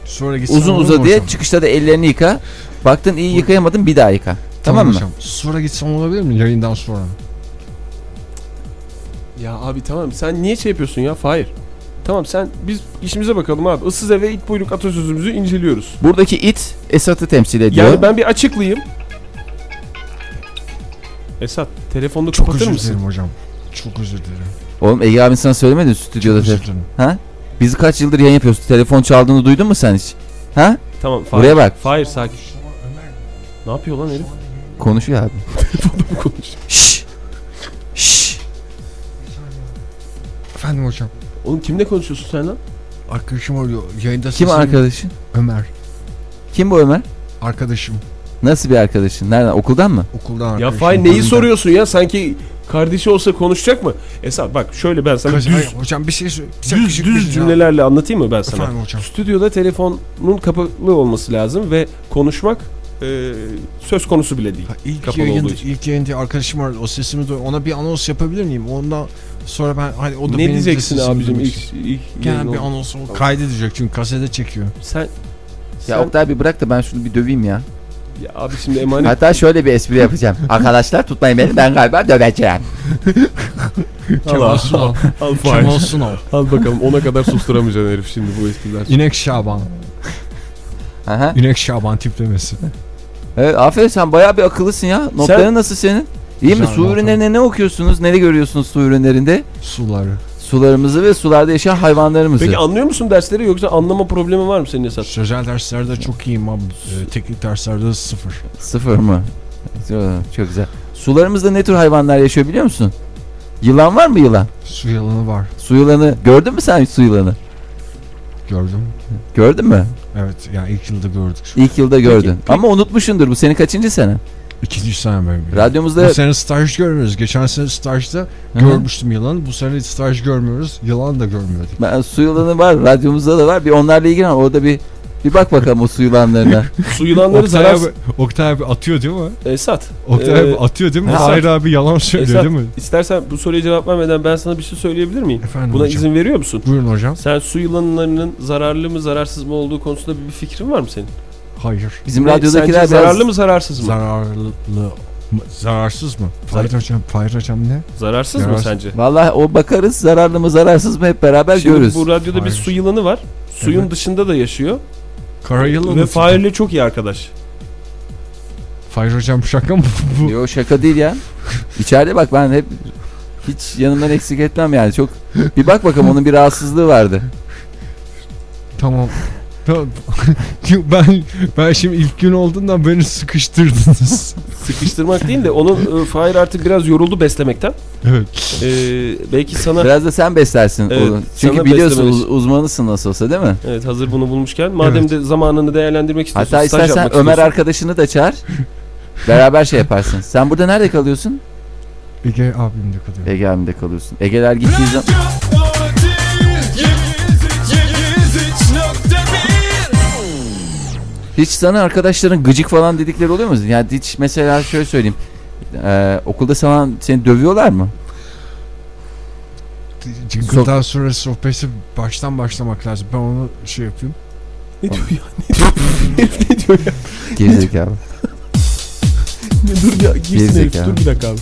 S4: Sonra gitsem
S8: Uzun
S4: olur mu
S8: uza diye
S4: hocam?
S8: çıkışta da ellerini yıka. Baktın iyi yıkayamadın bir daha yıka. Tamam, mı?
S4: hocam. Sonra gitsem olabilir mi yayından sonra?
S7: Ya abi tamam sen niye şey yapıyorsun ya Fahir? Tamam sen biz işimize bakalım abi. Issız eve it buyruk atasözümüzü inceliyoruz.
S8: Buradaki it Esat'ı temsil ediyor.
S7: Yani ben bir açıklayayım. Esat telefonunu
S4: Çok
S7: kapatır
S4: özür
S7: mısın?
S4: dilerim hocam. Çok özür dilerim.
S8: Oğlum Ege abin sana söylemedi mi
S4: Çok
S8: stüdyoda.
S4: özür
S8: Biz
S4: dilerim.
S8: Bizi kaç yıldır yayın yapıyorsun? Telefon çaldığını duydun mu sen hiç? Ha?
S7: Tamam Fahir.
S8: Buraya bak.
S7: Fahir sakin. Ne yapıyor lan herif?
S8: Konuşuyor abi.
S7: Bu konuşuyor.
S8: Şşş. Şşş.
S4: Efendim hocam.
S7: Oğlum kimle konuşuyorsun sen lan?
S4: Arkadaşım arıyor. Yayında
S8: Kim
S4: sesim-
S8: arkadaşın?
S4: Ömer.
S8: Kim bu Ömer?
S4: Arkadaşım.
S8: Nasıl bir arkadaşın? Nereden? Okuldan mı?
S4: Okuldan
S7: Ya
S4: arkadaşım.
S7: Fahir neyi
S4: Okuldan.
S7: soruyorsun ya? Sanki kardeşi olsa konuşacak mı? Esat bak şöyle ben sana
S4: Kız-
S7: düz,
S4: Hayır, hocam bir şey söyle.
S7: düz, düz cümlelerle anlatayım mı ben sana?
S4: Efendim hocam.
S7: Stüdyoda telefonun kapalı olması lazım ve konuşmak e, söz konusu bile değil.
S4: Ha, İlk
S7: Kapalı
S4: yayında,
S7: olduğu için.
S4: ilk yayında arkadaşım arıyor. O sesimi duy. Ona bir anons yapabilir miyim? Ondan sonra ben hani o da
S7: Ne
S4: benim de
S7: diyeceksin
S4: sesimi
S7: abicim
S4: duymak
S7: ilk,
S4: istiyor.
S7: ilk yayın
S4: Gene bir
S7: oldu.
S4: anons o kaydedecek çünkü kasete çekiyor.
S7: sen
S8: Ya
S7: sen-
S8: Oktay bir bırak da ben şunu bir döveyim ya.
S7: ya abi şimdi emanet
S8: Hatta şöyle bir espri yapacağım. Arkadaşlar tutmayın beni ben galiba döveceğim.
S7: al,
S4: Kemal
S7: al,
S4: Sunal.
S7: al, Fahir.
S4: Kemal Sunal.
S7: al bakalım ona kadar susturamayacaksın herif şimdi bu espriler.
S4: İnek Şaban.
S8: Aha.
S4: İnek Şaban tiplemesi.
S8: Evet, aferin sen bayağı bir akıllısın ya. Notların
S7: Sen-
S8: nasıl senin? İyi mi?
S4: Güzel,
S8: Su
S4: not
S8: ürünlerine ne okuyorsunuz? Neleri görüyorsunuz su ürünlerinde?
S4: Suları.
S8: Sularımızı ve sularda yaşayan hayvanlarımızı.
S7: Peki anlıyor musun dersleri yoksa anlama problemi var mı senin Esat?
S4: Sözel derslerde çok iyiyim abi. Ee, teknik derslerde sıfır.
S8: Sıfır mı? Çok güzel. Sularımızda ne tür hayvanlar yaşıyor biliyor musun? Yılan var mı yılan?
S4: Su yalanı var.
S8: Su yılanı gördün mü sen su yılanı?
S4: Gördüm.
S8: Gördün mü?
S4: Evet yani ilk yılda gördük. şu-
S8: İlk yılda gördün. Ama unutmuşsundur bu senin kaçıncı sene?
S4: İkinci sene ben biliyorum.
S8: Radyomuzda
S4: Bu sene staj görmüyoruz. Geçen sene stajda
S8: Hı hı.
S4: görmüştüm yılanı. Bu sene hiç staj görmüyoruz. Yılan da görmüyorduk.
S8: Ben- su yılanı var, radyomuzda da var. Bir onlarla ilgilen orada bir bir bak bakalım o su yılanlarına.
S7: Su yılanları
S2: Oktay
S7: zarar...
S2: abi, Oktay abi atıyor değil mi?
S7: Esat.
S2: Oktay
S7: Ee,
S2: abi atıyor değil mi?
S7: ha.
S2: Hayır abi yalan
S4: şey
S2: söylüyor
S7: Esat,
S2: değil mi?
S7: istersen bu soruya cevap vermeden ben sana bir şey söyleyebilir miyim?
S4: Efendim
S7: Buna
S4: hocam.
S7: izin veriyor musun?
S4: Buyurun hocam.
S7: Sen su yılanlarının zararlı mı zararsız mı olduğu konusunda bir fikrin var mı senin?
S4: Hayır.
S8: Bizim
S7: Ve
S8: radyodakiler
S7: sence
S8: biraz
S7: zararlı mı zararsız mı?
S4: Zararlı mı? Zararsız mı? Fahir hocam, Fahir hocam ne?
S7: zararsız mı
S4: Zararsız.
S7: sence?
S8: Vallahi o bakarız zararlı mı zararsız mı hep beraber
S7: Şimdi
S8: görürüz.
S7: bu radyoda bir
S4: Hayır.
S7: su yılanı var. Suyun
S4: Evet.
S7: dışında da yaşıyor.
S4: Kara yılanı.
S7: Ve Fahir'le çok iyi arkadaş.
S4: Fahir hocam şaka mı bu?
S8: Yo şaka değil ya. İçeride bak ben hep hiç yanımdan eksik etmem yani çok. Bir bak bakalım onun bir rahatsızlığı vardı.
S4: Tamam. Tamam. ben ben şimdi ilk gün olduğundan beni sıkıştırdınız.
S7: Sıkıştırmak değil de onun e, Fahir artık biraz yoruldu beslemekten.
S4: evet.
S7: E, belki sana
S8: Biraz da sen beslersin
S7: Evet,
S8: onu. Çünkü
S7: sana
S8: biliyorsun
S7: beslemeliyiz.
S8: uz- uzmanısın nasıl olsa değil mi?
S7: evet hazır bunu bulmuşken madem
S4: Evet.
S7: de zamanını değerlendirmek istiyorsun.
S8: Hatta
S7: staj
S8: istersen
S7: yapmak
S8: Ömer
S7: istiyorsun.
S8: arkadaşını da çağır. Beraber şey yaparsın. Sen burada nerede kalıyorsun?
S4: Ege abim de kalıyor.
S8: Ege abimde kalıyorsun. Ege'ler gittiği zaman... Hiç sana arkadaşların gıcık falan dedikleri oluyor mu? Yani hiç mesela şöyle söyleyeyim. Ee, okulda sana seni dövüyorlar mı?
S4: Jingle'dan sonra sohbeti baştan başlamak lazım. Ben onu şey yapayım.
S7: Ne diyor ya?
S8: Gerizekalı.
S7: Ne- Dur ya girsin herif.
S8: Gerizekalı.
S7: Dur bir dakika abi.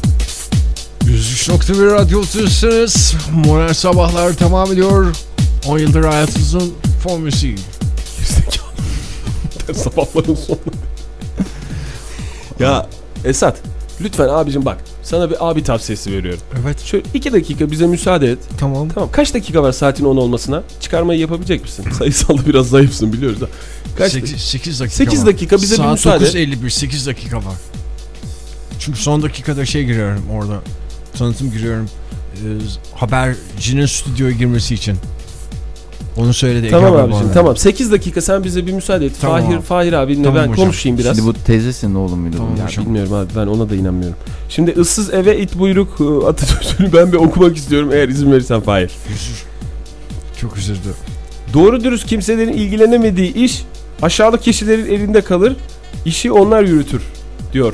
S4: 103.1 radyodasınız. Modern Sabahlar devam ediyor. 10 yıldır hayatınızın fon müziği.
S7: Sabahların sonu. ya Esat lütfen abicim bak sana bir abi tavsiyesi veriyorum.
S4: Evet
S7: Şöyle iki dakika bize müsaade et.
S4: tamam.
S7: Tamam kaç dakika var saatin 10 olmasına? Çıkarmayı yapabilecek misin? Sayısalda biraz zayıfsın biliyoruz da. Kaç
S4: 8, dakika
S7: 8
S4: var.
S7: dakika bize bir
S4: Saat
S7: müsaade.
S4: 9.51 8 dakika var. Çünkü son dakikada şey giriyorum orada. Tanıtım giriyorum. Ee, habercinin stüdyoya girmesi için. Onu söyledi. Ege
S7: Tamam
S4: abi
S7: abicim
S4: bana.
S7: tamam 8 dakika sen bize bir müsaade et.
S4: Tamam
S7: Fahir,
S4: abi.
S7: Fahir abinle
S4: Tamam
S7: ben
S4: hocam.
S7: konuşayım biraz.
S8: Şimdi bu teyzesin oğlum muydu? bu?
S4: Tamam.
S7: Ya
S4: hocam.
S7: bilmiyorum abi ben ona da inanmıyorum. Şimdi ıssız eve it buyruk e, atasözünü ben bir okumak istiyorum eğer izin verirsen Fahir.
S4: Üzür. Çok üzüldü.
S7: Doğru dürüst kimselerin ilgilenemediği iş aşağılık kişilerin elinde kalır. işi onlar yürütür diyor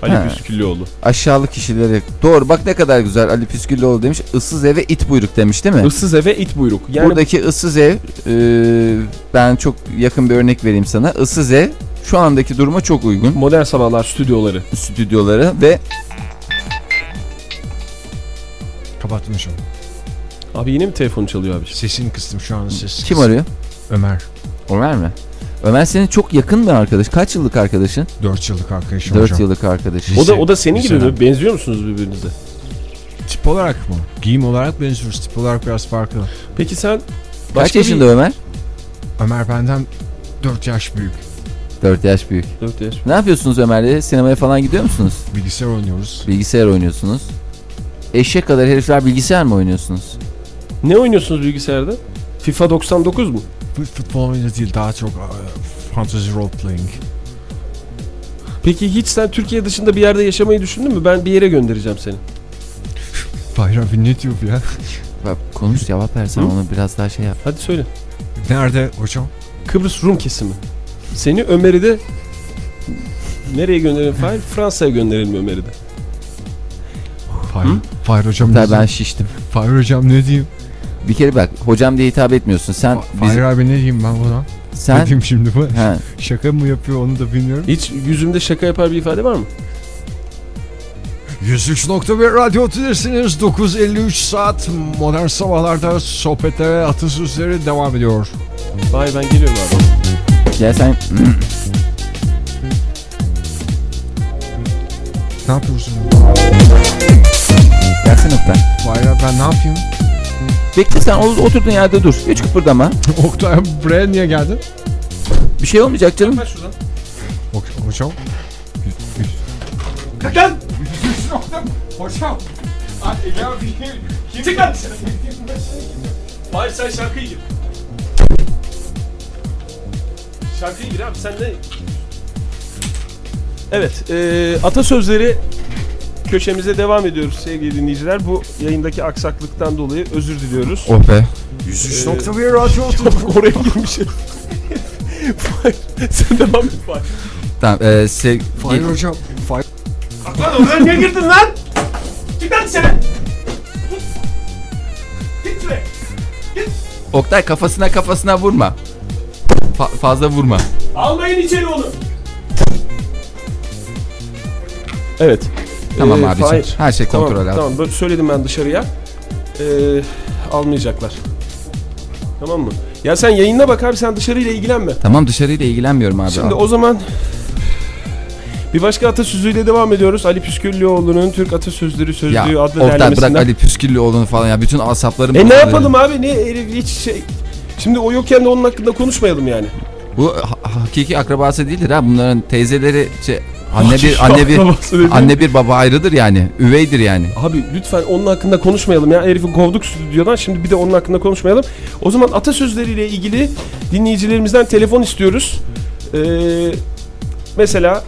S8: He.
S7: Ali Püsküllüoğlu.
S8: Aşağılık kişileri. Doğru bak ne kadar güzel Ali Püsküllüoğlu demiş. Issız eve it buyruk demiş değil mi?
S7: Issız eve it buyruk. Yani
S8: Buradaki ıssız ev e, ben çok yakın bir örnek vereyim sana. Issız ev şu andaki duruma çok uygun.
S7: modern sabahlar stüdyoları.
S8: stüdyoları ve
S4: Kapatmışım.
S7: Abi yine mi telefon çalıyor abi?
S4: Sesini kıstım şu an ses.
S8: kim arıyor?
S4: Ömer.
S8: Ömer mi? Ömer senin çok yakın bir arkadaş. Kaç yıllık arkadaşın?
S4: 4 yıllık arkadaşım
S8: 4
S4: hocam.
S8: yıllık
S7: O
S8: arkadaşın.
S7: da
S4: Lise-
S7: o da senin gibi
S4: liseden.
S7: mi? Benziyor musunuz birbirinize?
S4: Tip olarak mı? Giyim olarak benziyoruz. Tip olarak biraz farklı.
S7: Peki sen
S8: Kaç
S7: başka
S8: yaşında Ömer?
S4: Ömer benden 4 yaş büyük.
S8: 4 yaş büyük.
S7: Bir... Dört yaş.
S8: Ne yapıyorsunuz Ömer'le? Sinemaya falan gidiyor musunuz?
S4: Bilgisayar oynuyoruz.
S8: Bilgisayar oynuyorsunuz. Eşek kadar herifler bilgisayar mı oynuyorsunuz?
S7: Ne oynuyorsunuz bilgisayarda? FIFA 99 mu?
S4: Bu futbol oyunu değil daha çok e, fantasy role playing.
S7: Peki hiç sen Türkiye dışında bir yerde yaşamayı düşündün mü? Ben bir yere göndereceğim seni.
S4: Bayram abi ne diyor bu ya?
S8: Bak konuş cevap versen
S7: Hı?
S8: onu biraz daha şey yap.
S7: Hadi söyle.
S4: Nerede hocam?
S7: Kıbrıs Rum kesimi. Seni Ömer'i de nereye gönderelim Fahir? Fransa'ya gönderelim Ömer'i de.
S4: Fahir, Fahir hocam ne
S8: Hatta ben
S4: diyeyim?
S8: şiştim.
S4: Fahir hocam ne diyeyim?
S8: Bir kere bak hocam diye hitap etmiyorsun. Sen
S4: Fa-
S8: biz,
S4: Fahir abi ne diyeyim ben buna? Ne
S8: sen
S4: diyeyim şimdi bu?
S8: he,
S4: Şaka mı yapıyor onu da bilmiyorum.
S7: Hiç yüzümde şaka yapar bir ifade var mı?
S4: 103.1 Radyo Tülesi'niz 9.53 saat modern sabahlarda sohbetlere atasözleri devam ediyor.
S7: Fahir ben geliyorum abi.
S8: gel sen
S4: Ne yapıyorsun?
S8: gelsene Oktay.
S4: Fahir abi ben ne yapayım?
S8: Bekle sen o- oturduğun yerde dur. Hiç kıpırdama.
S4: Oktay abi buraya niye geldin?
S8: Bir şey olmayacak canım.
S4: Hocam.
S7: Kalk lan!
S4: Hocam. Ay, ya bir şey. Kim?
S7: Çık lan! Hayır sen şarkıyı gir. Şarkıyı gir abi sen de... Evet, e, atasözleri köşemize devam ediyoruz sevgili dinleyiciler. Bu yayındaki aksaklıktan dolayı özür diliyoruz.
S8: Oh be.
S4: 103.1 radyo oturdu.
S7: Oraya girmişim. Fahir, sen devam et Fahir.
S8: Tamam. E, sev-
S4: Hayır hocam. Fire.
S7: Kalk lan oraya niye girdin lan? Çık lan dışarı! Git şuraya!
S8: Oktay kafasına kafasına vurma. Fa- fazla vurma.
S7: Almayın içeri onu! Evet.
S8: Tamam
S7: Ee,
S8: abicim.
S7: Fahir.
S8: Her şey kontrol
S7: tamam,
S8: altında.
S7: Tamam böyle söyledim ben dışarıya. Ee, almayacaklar. Tamam mı? Ya sen yayına bak abi sen dışarıyla ilgilenme.
S8: Tamam dışarıyla ilgilenmiyorum abi.
S7: Şimdi
S8: Al.
S7: o zaman bir başka atasözüyle devam ediyoruz. Ali Püsküllüoğlu'nun Türk Atasözleri Sözlüğü
S8: ya
S7: adlı
S8: Oktay
S7: derlemesinden.
S8: bırak Ali Püsküllüoğlu'nu falan ya bütün asaplarım.
S7: E ne
S8: bozuldu.
S7: yapalım abi? Ne herif hiç şey... Şimdi o yokken de onun hakkında konuşmayalım yani.
S8: Bu ha- hakiki akrabası değildir ha bunların teyzeleri şey, anne bir anne bir
S7: Akrabası dedi.
S8: anne bir baba ayrıdır yani. Üveydir yani.
S7: Abi lütfen onun hakkında konuşmayalım ya. Herifi kovduk stüdyodan. Şimdi bir de onun hakkında konuşmayalım. O zaman atasözleriyle ilgili dinleyicilerimizden telefon istiyoruz. Ee, mesela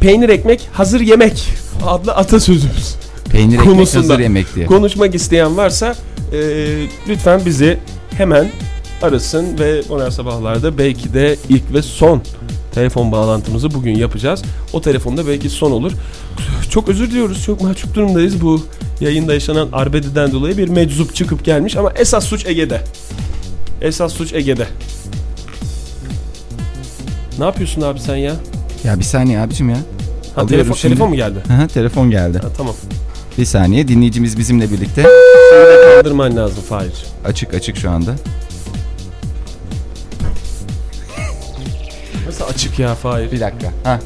S7: peynir ekmek hazır yemek adlı atasözümüz.
S8: Peynir ekmek
S7: Konusunda.
S8: hazır yemek diye.
S7: Konuşmak isteyen varsa e, lütfen bizi hemen arasın ve modern sabahlarda belki de ilk ve son telefon bağlantımızı bugün yapacağız. O telefonda belki son olur. Çok özür diliyoruz. Çok mahcup durumdayız. Bu yayında yaşanan arbededen dolayı bir meczup çıkıp gelmiş ama esas suç Ege'de. Esas suç Ege'de. Ne yapıyorsun abi sen ya?
S8: Ya bir saniye abicim ya.
S7: Ha,
S8: Alıyorum
S7: telefon,
S8: şimdi.
S7: telefon mu geldi?
S8: Hı hı, telefon geldi.
S7: Ha, tamam.
S8: Bir saniye dinleyicimiz bizimle birlikte.
S7: Kaldırman lazım Fahir.
S8: Açık açık şu anda.
S7: Nasıl açık ya Fahir?
S8: Bir dakika. Ha.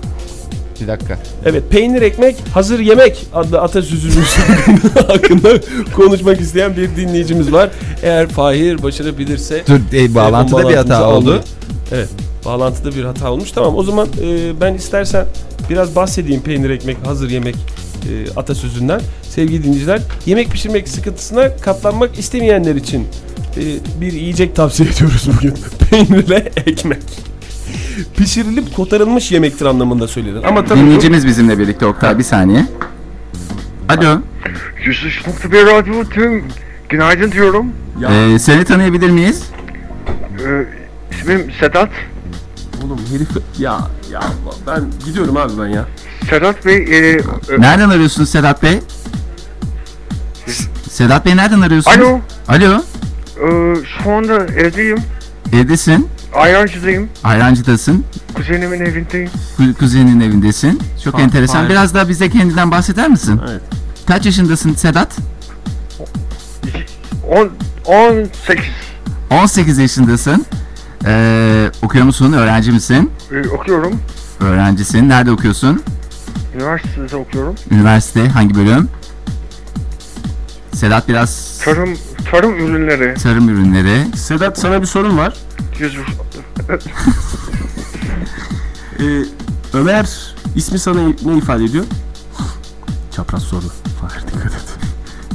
S8: Bir dakika.
S7: Evet peynir ekmek hazır yemek adlı atasözümüz hakkında konuşmak isteyen bir dinleyicimiz var. Eğer Fahir başarabilirse
S8: Dur e, bağlantıda bir
S7: bağlantımızı
S8: hata oldu.
S7: almayın. Evet bağlantıda bir hata olmuş. Tamam o zaman e, ben istersen biraz bahsedeyim peynir ekmek hazır yemek e, atasözünden. Sevgili dinleyiciler yemek pişirmek sıkıntısına katlanmak istemeyenler için e, bir yiyecek tavsiye ediyoruz bugün. Peynirle ekmek. Pişirilip kotarılmış yemektir anlamında söylenir. Ama tabii bu-
S8: Dinleyicimiz bizimle birlikte Oktay bir saniye. Alo.
S9: 103.1 Radyo tüm günaydın diyorum.
S8: Ee, seni tanıyabilir miyiz?
S9: Ee, ismim Sedat.
S7: Oğlum herif ya ya ben gidiyorum abi ben ya.
S9: Sedat Bey e, e,
S8: Nereden arıyorsunuz Sedat Bey? Sedat Bey nereden arıyorsunuz?
S9: alo
S8: Alo.
S9: e, şu anda evdeyim.
S8: Evdesin.
S9: Ayrancı'dayım.
S8: Ayrancı'dasın.
S9: Kuzenimin evindeyim.
S8: ku- Kuzeninin evindesin. Çok enteresan. Biraz daha bize kendinden bahseder misin?
S7: Evet.
S8: Kaç yaşındasın Sedat?
S9: 10 18
S8: 18 yaşındasın. Ee, okuyor musun? Öğrenci misin?
S9: e, okuyorum.
S8: Öğrencisin. Nerede okuyorsun?
S9: Üniversitede okuyorum.
S8: Üniversite hangi bölüm? Sedat biraz
S9: Tarım tarım ürünleri.
S8: tarım ürünleri.
S7: Sedat sana bir sorun var.
S9: 100
S7: Ee, Ömer ismi sana ne ifade ediyor? Çapraz soru. Fahir dikkat et.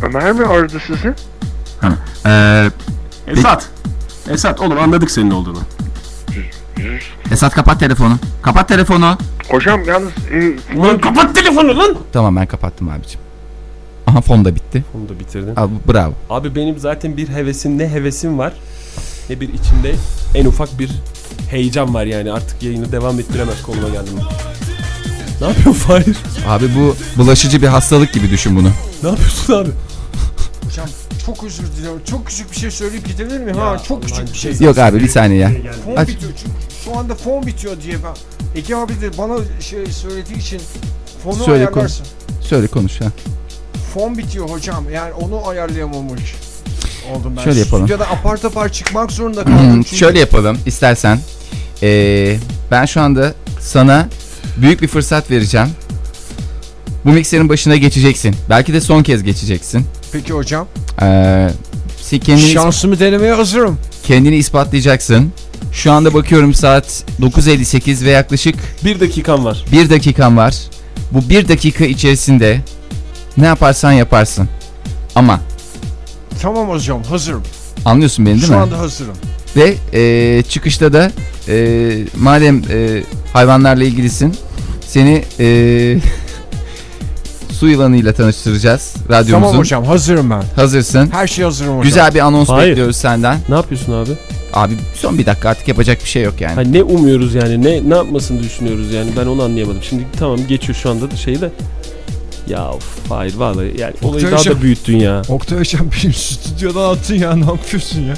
S9: Ömer mi aradı sizi?
S8: Ee,
S7: Esat. Esat oğlum anladık senin olduğunu.
S8: Esat kapat telefonu. Kapat telefonu.
S9: Hocam yalnız e,
S7: Lan kapat telefonu lan.
S8: Tamam ben kapattım abicim. Aha fon da bitti.
S7: Onu da bitirdin.
S8: Abi, bravo.
S7: Abi benim zaten bir hevesim ne hevesim var ne bir içimde en ufak bir heyecan var yani artık yayını devam ettiremez konuma geldim. Ne yapıyorsun Fahir?
S8: Abi bu bulaşıcı bir hastalık gibi düşün bunu.
S7: Ne yapıyorsun abi?
S4: Hocam çok özür diliyorum. Çok küçük bir şey söyleyip gidebilir miyim? Ha çok küçük bir şey.
S8: Yok abi bir saniye ya.
S4: Fon
S8: Aç.
S4: bitiyor çünkü. Şu anda fon bitiyor diye ben. Ege abi de bana şey söylediği için fonu
S8: Söyle,
S4: ayarlarsın.
S8: Şöyle konuş ha.
S4: Fon bitiyor hocam. Yani onu ayarlayamamış. Oldum ben.
S8: Şöyle yapalım.
S4: Stüdyoda apar topar çıkmak zorunda kaldım. çünkü
S8: Hmm, Şöyle yapalım istersen. Ee, ben şu anda sana büyük bir fırsat vereceğim. Bu mikserin başına geçeceksin. Belki de son kez geçeceksin.
S4: Peki hocam.
S8: Ee, se- kendini,
S4: Şansımı denemeye hazırım.
S8: kendini ispatlayacaksın. Şu anda bakıyorum saat 9.58 ve yaklaşık
S7: Bir dakikan var.
S8: 1 dakikan var. Bu bir dakika içerisinde ne yaparsan yaparsın. Ama
S4: Tamam hocam hazırım.
S8: anlıyorsun beni değil
S4: Şu
S8: mi?
S4: anda hazırım.
S8: Ve e, çıkışta da e, madem e, hayvanlarla ilgilisin seni e, su yılanıyla tanıştıracağız radyomuzun.
S4: Tamam hocam hazırım ben.
S8: Hazırsın.
S4: Her şey hazırım hocam.
S8: Güzel bir anons
S7: Hayır.
S8: bekliyoruz senden.
S7: Ne yapıyorsun abi?
S8: Abi son bir dakika artık yapacak bir şey yok yani.
S7: Hani ne umuyoruz yani? Ne ne yapmasını düşünüyoruz yani? Ben onu anlayamadım. Şimdi tamam geçiyor şu anda da şeyi de. Ya of, hayır vallahi yani olayı daha da
S4: Muhteşem.
S7: büyüttün ya.
S4: Oktay hocam benim stüdyodan attın ya ne yapıyorsun ya?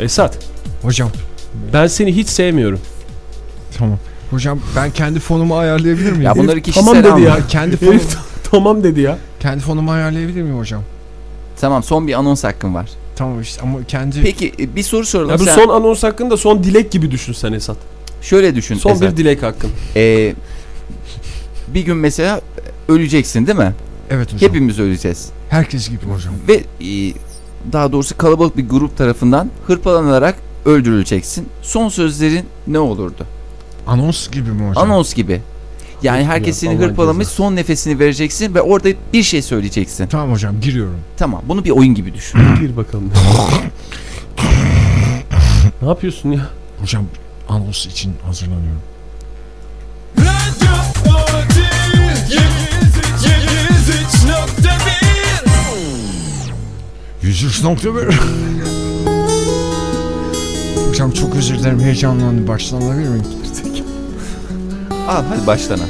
S7: Esat
S4: Hocam
S7: ben seni hiç sevmiyorum.
S4: tamam. Hocam ben kendi fonumu ayarlayabilir miyim?
S8: Ya bunları kişisel
S7: tamam dedi
S8: alma.
S7: ya.
S4: Ya kendi fonum,
S7: Herif tamam dedi ya.
S4: kendi fonumu ayarlayabilir miyim hocam?
S8: Tamam son bir anons hakkın var.
S4: Tamam işte ama kendi
S8: Peki e, bir soru soralım.
S7: Ya bu
S8: Sen
S7: son anons hakkında son dilek gibi düşün sen Esat.
S8: şöyle düşün.
S7: Son
S8: Ezel.
S7: bir dilek hakkın.
S8: Ee, bir gün mesela öleceksin değil mi?
S4: evet hocam.
S8: Hepimiz öleceğiz.
S4: Herkes gibi hocam.
S8: Ve e, daha doğrusu kalabalık bir grup tarafından hırpalanarak öldürüleceksin. Son sözlerin ne olurdu?
S4: Anons gibi mi hocam?
S8: Anons gibi. Yani herkes seni
S7: Allah
S8: hırpalamış son nefesini vereceksin ve orada bir şey söyleyeceksin.
S4: Tamam hocam giriyorum.
S8: Tamam bunu bir oyun gibi düşün.
S7: Gir bakalım. ne yapıyorsun ya?
S4: Hocam anons için hazırlanıyorum. Yüzüç nokta bir. Hocam çok özür dilerim heyecanlandım. Baştan alabilir miyim?
S8: Al hadi başlana.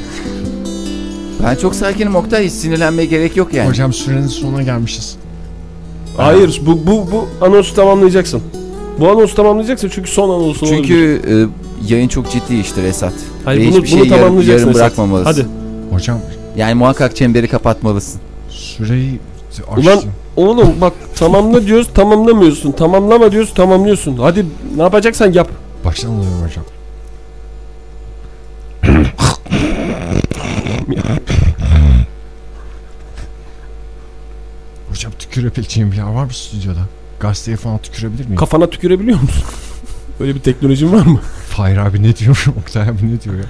S8: Ben çok sakinim Oktay hiç sinirlenmeye gerek yok yani.
S4: Hocam sürenin sonuna gelmişiz.
S7: Hayır bu bu bu anonsu tamamlayacaksın. Bu anonsu tamamlayacaksın çünkü son anonsu olabilir.
S8: Çünkü e, yayın çok ciddi iştir Esat.
S7: Hayır,
S8: Ve
S7: bunu-
S8: hiçbir
S7: bunu
S8: şey yarım,
S7: tamamlayacaksın
S8: yarım
S7: Esat.
S8: bırakmamalısın.
S7: Hadi.
S4: Hocam
S8: Yani muhakkak çemberi kapatmalısın.
S4: süreyi açtım.
S7: Ulan oğlum bak tamamla diyoruz tamamlamıyorsun. Tamamlama diyoruz tamamlıyorsun. Hadi ne yapacaksan yap.
S4: Baştan alıyorum hocam. hocam tükürebileceğim bir yer var mı stüdyoda? Gazeteye falan tükürebilir miyim?
S7: Kafana tükürebiliyor musun? Böyle bir teknolojin var mı?
S4: Fahir abi ne diyor? Oktay abi ne diyor ya?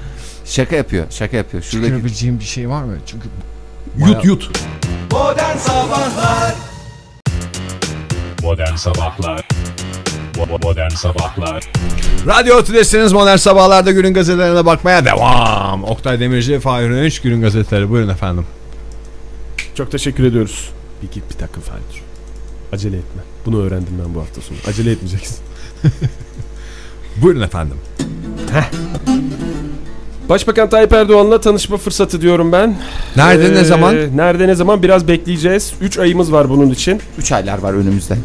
S8: Şaka yapıyor, şaka yapıyor. Şuradaki
S4: Tükürebileceğim bir şey var mı? Çünkü
S7: Yut yut.
S1: Modern Sabahlar Bo- Modern Sabahlar
S2: Radyo Tülesi'niz modern sabahlarda günün gazetelerine bakmaya devam. Oktay Demirci, Fahir Önç günün gazeteleri. Buyurun efendim.
S7: Çok teşekkür ediyoruz. Bir git bir dakika Ferdi. Acele etme. Bunu öğrendim ben bu hafta sonu. Acele etmeyeceksin.
S2: Buyurun efendim.
S7: Başbakan Tayyip Erdoğan'la tanışma fırsatı diyorum ben.
S2: Nerede
S7: Ee,
S2: ne zaman?
S7: Nerede ne zaman biraz bekleyeceğiz. 3 ayımız var bunun için.
S8: 3 aylar var önümüzde.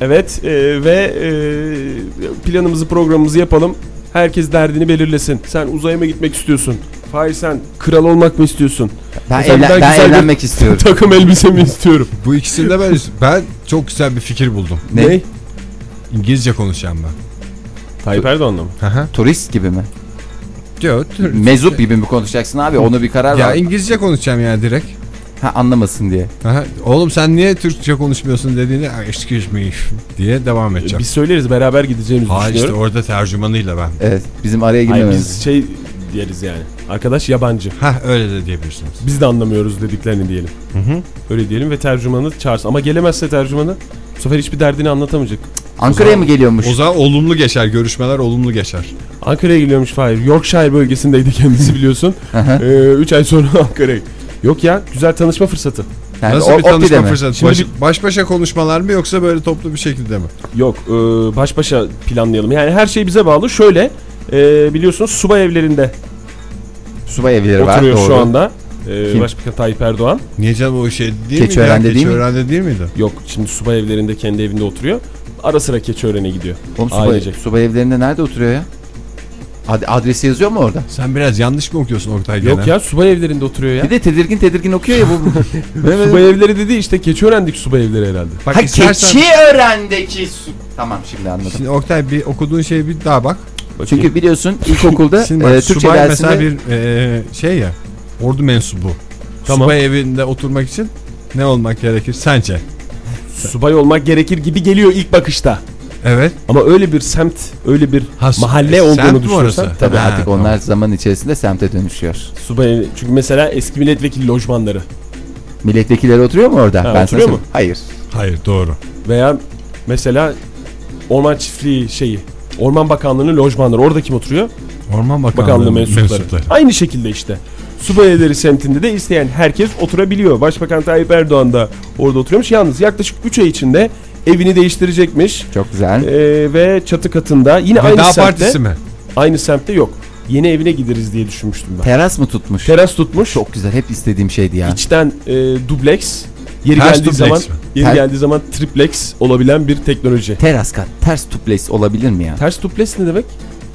S7: Evet e, ve e, planımızı programımızı yapalım. Herkes derdini belirlesin. Sen uzaya mı gitmek istiyorsun? Hayır sen kral olmak mı istiyorsun?
S8: Ben,
S7: Efendim,
S8: evlen-
S7: ben
S8: ben
S7: güzel bir-
S8: evlenmek istiyorum.
S7: Takım elbise mi istiyorum?
S2: Bu ikisini de ben, ben çok güzel bir fikir buldum.
S8: Ne?
S2: İngilizce konuşacağım ben.
S7: Tayyip Erdoğan'la mı?
S8: Turist gibi mi?
S2: Diyor. tür-
S8: Mezup gibi mi konuşacaksın abi? Onu bir karar
S2: Ya
S8: ver.
S2: İngilizce konuşacağım yani direkt.
S8: Ha anlamasın diye.
S2: Aha, oğlum sen niye Türkçe konuşmuyorsun dediğinde "Ah, excuse me diye devam edeceğim.
S7: Biz söyleriz beraber gideceğimizi
S8: Ee,
S2: Hayır işte
S7: düşünüyorum.
S2: orada tercümanıyla ben.
S8: Evet, bizim araya
S7: Hayır
S8: girmememiz.
S7: biz şey deriz yani. Arkadaş yabancı.
S2: Ha öyle de diyebilirsiniz.
S7: Biz de anlamıyoruz dediklerini diyelim. Öyle diyelim ve tercümanı çağırsın. Ama gelemezse tercümanı bu sefer hiçbir derdini anlatamayacak.
S8: Ankara'ya mı geliyormuş?
S2: O zaman olumlu geçer görüşmeler olumlu geçer.
S7: Ankara'ya geliyormuş Fahir. Yorkshire bölgesindeydi kendisi biliyorsun. 3 ay sonra Ankara'ya. Yok ya güzel tanışma fırsatı.
S8: Yani
S2: Nasıl
S8: o-
S2: bir
S8: o
S2: tanışma
S8: mi?
S2: fırsatı?
S7: Şimdi
S2: Baş, baş başa konuşmalar mı yoksa böyle toplu bir şekilde mi?
S7: Yok e, baş başa planlayalım. Yani her şey bize bağlı. Şöyle e, biliyorsunuz subay evlerinde
S8: Subay evleri var.
S7: oturuyor
S8: doğru.
S7: şu anda. E,
S8: Kim?
S7: Başbakan Tayyip Erdoğan.
S2: Niye canım o şey değil miydi?
S8: Keçiören'de
S2: ya?
S8: değil mi?
S2: Keçiören'de değil miydi?
S7: Yok şimdi subay evlerinde kendi evinde oturuyor. Ara sıra Keçiören'e gidiyor.
S8: Oğlum subay,
S7: Ailecek.
S8: subay evlerinde nerede oturuyor ya? Ad- adresi yazıyor mu orada?
S2: Sen biraz yanlış mı okuyorsun Oktay gene?
S7: Yok ya subay evlerinde oturuyor ya.
S8: Bir de tedirgin tedirgin okuyor ya bu.
S7: Subay evleri dedi işte Keçiören'deki subay evleri herhalde.
S2: Bak
S8: ha
S2: istersen...
S8: Keçiören'deki su. Tamam şimdi anladım.
S2: Şimdi Oktay bir okuduğun şeye bir daha bak.
S7: Çünkü
S8: Çünkü biliyorsun ilkokulda
S2: Şimdi bak
S8: e, Türkçe
S2: subay
S8: dersinde
S2: mesela bir e, şey ya ordu mensubu.
S7: Tamam.
S2: Subay evinde oturmak için ne olmak gerekir sence?
S7: subay olmak gerekir gibi geliyor ilk bakışta.
S2: Evet.
S7: Ama öyle bir semt, öyle bir
S2: Ha,
S7: mahalle
S2: e, semt
S7: olduğunu
S2: mi
S7: düşünürsen.
S2: orası?
S8: Tabii
S2: Ha,
S8: artık onlar zaman içerisinde semte dönüşüyor.
S7: Subay, çünkü mesela eski milletvekili lojmanları
S8: Milletvekilleri oturuyor mu orada?
S7: Ha,
S8: sana
S7: oturuyor mu?
S8: söyleyeyim. Hayır.
S2: Hayır doğru.
S7: veya mesela orman çiftliği şeyi, Orman Bakanlığı'nın lojmanları orada kim oturuyor?
S2: Orman Bakanlığı,
S7: Bakanlığı mensupları.
S2: mensupları.
S7: Aynı şekilde işte. Subayeleri semtinde de isteyen herkes oturabiliyor. Başbakan Tayyip Erdoğan da orada oturuyormuş. Yalnız yaklaşık 3 ay içinde evini değiştirecekmiş.
S8: Çok güzel.
S7: Ee, ve çatı katında yine aynı
S2: Veda
S7: semtte.
S2: Partisi mi?
S7: Aynı semtte yok. Yeni evine gideriz diye düşünmüştüm ben.
S8: Teras mı tutmuş?
S7: Teras tutmuş.
S8: Çok güzel. Hep istediğim şeydi ya.
S7: İçten e, dubleks, yeri
S2: Ters
S7: geldiği
S2: dubleks
S7: zaman
S2: mi?
S7: yeri
S8: Ter-
S7: geldiği zaman triplex olabilen bir teknoloji.
S8: Teras kat. Ters tuples olabilir mi ya?
S7: Ters dubleks ne demek?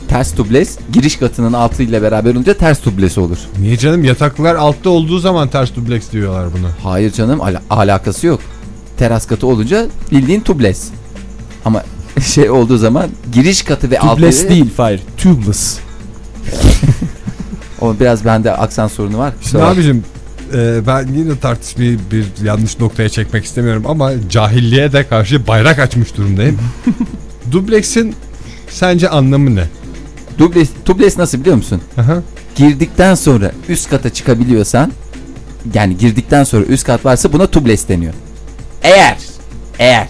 S8: Ters tuples giriş katının altıyla beraber olunca ters tuples olur.
S2: Niye canım yataklar altta olduğu zaman ters dubleks diyorlar bunu.
S8: Hayır canım ala- alakası yok. Teras katı olunca bildiğin tubeless. Ama şey olduğu zaman giriş katı ve altı
S7: Dubleks değil, hayır. Tubeless.
S8: O biraz bende aksan sorunu var.
S2: Şimdi
S8: Kusura bak-
S2: abicim e, ben yine tartışmayı bir yanlış noktaya çekmek istemiyorum ama cahilliğe de karşı bayrak açmış durumdayım. Dubleksin sence anlamı ne?
S8: Dubles, tubles nasıl biliyor musun?
S2: Aha.
S8: Girdikten sonra üst kata çıkabiliyorsan yani girdikten sonra üst kat varsa buna tubles deniyor. Eğer eğer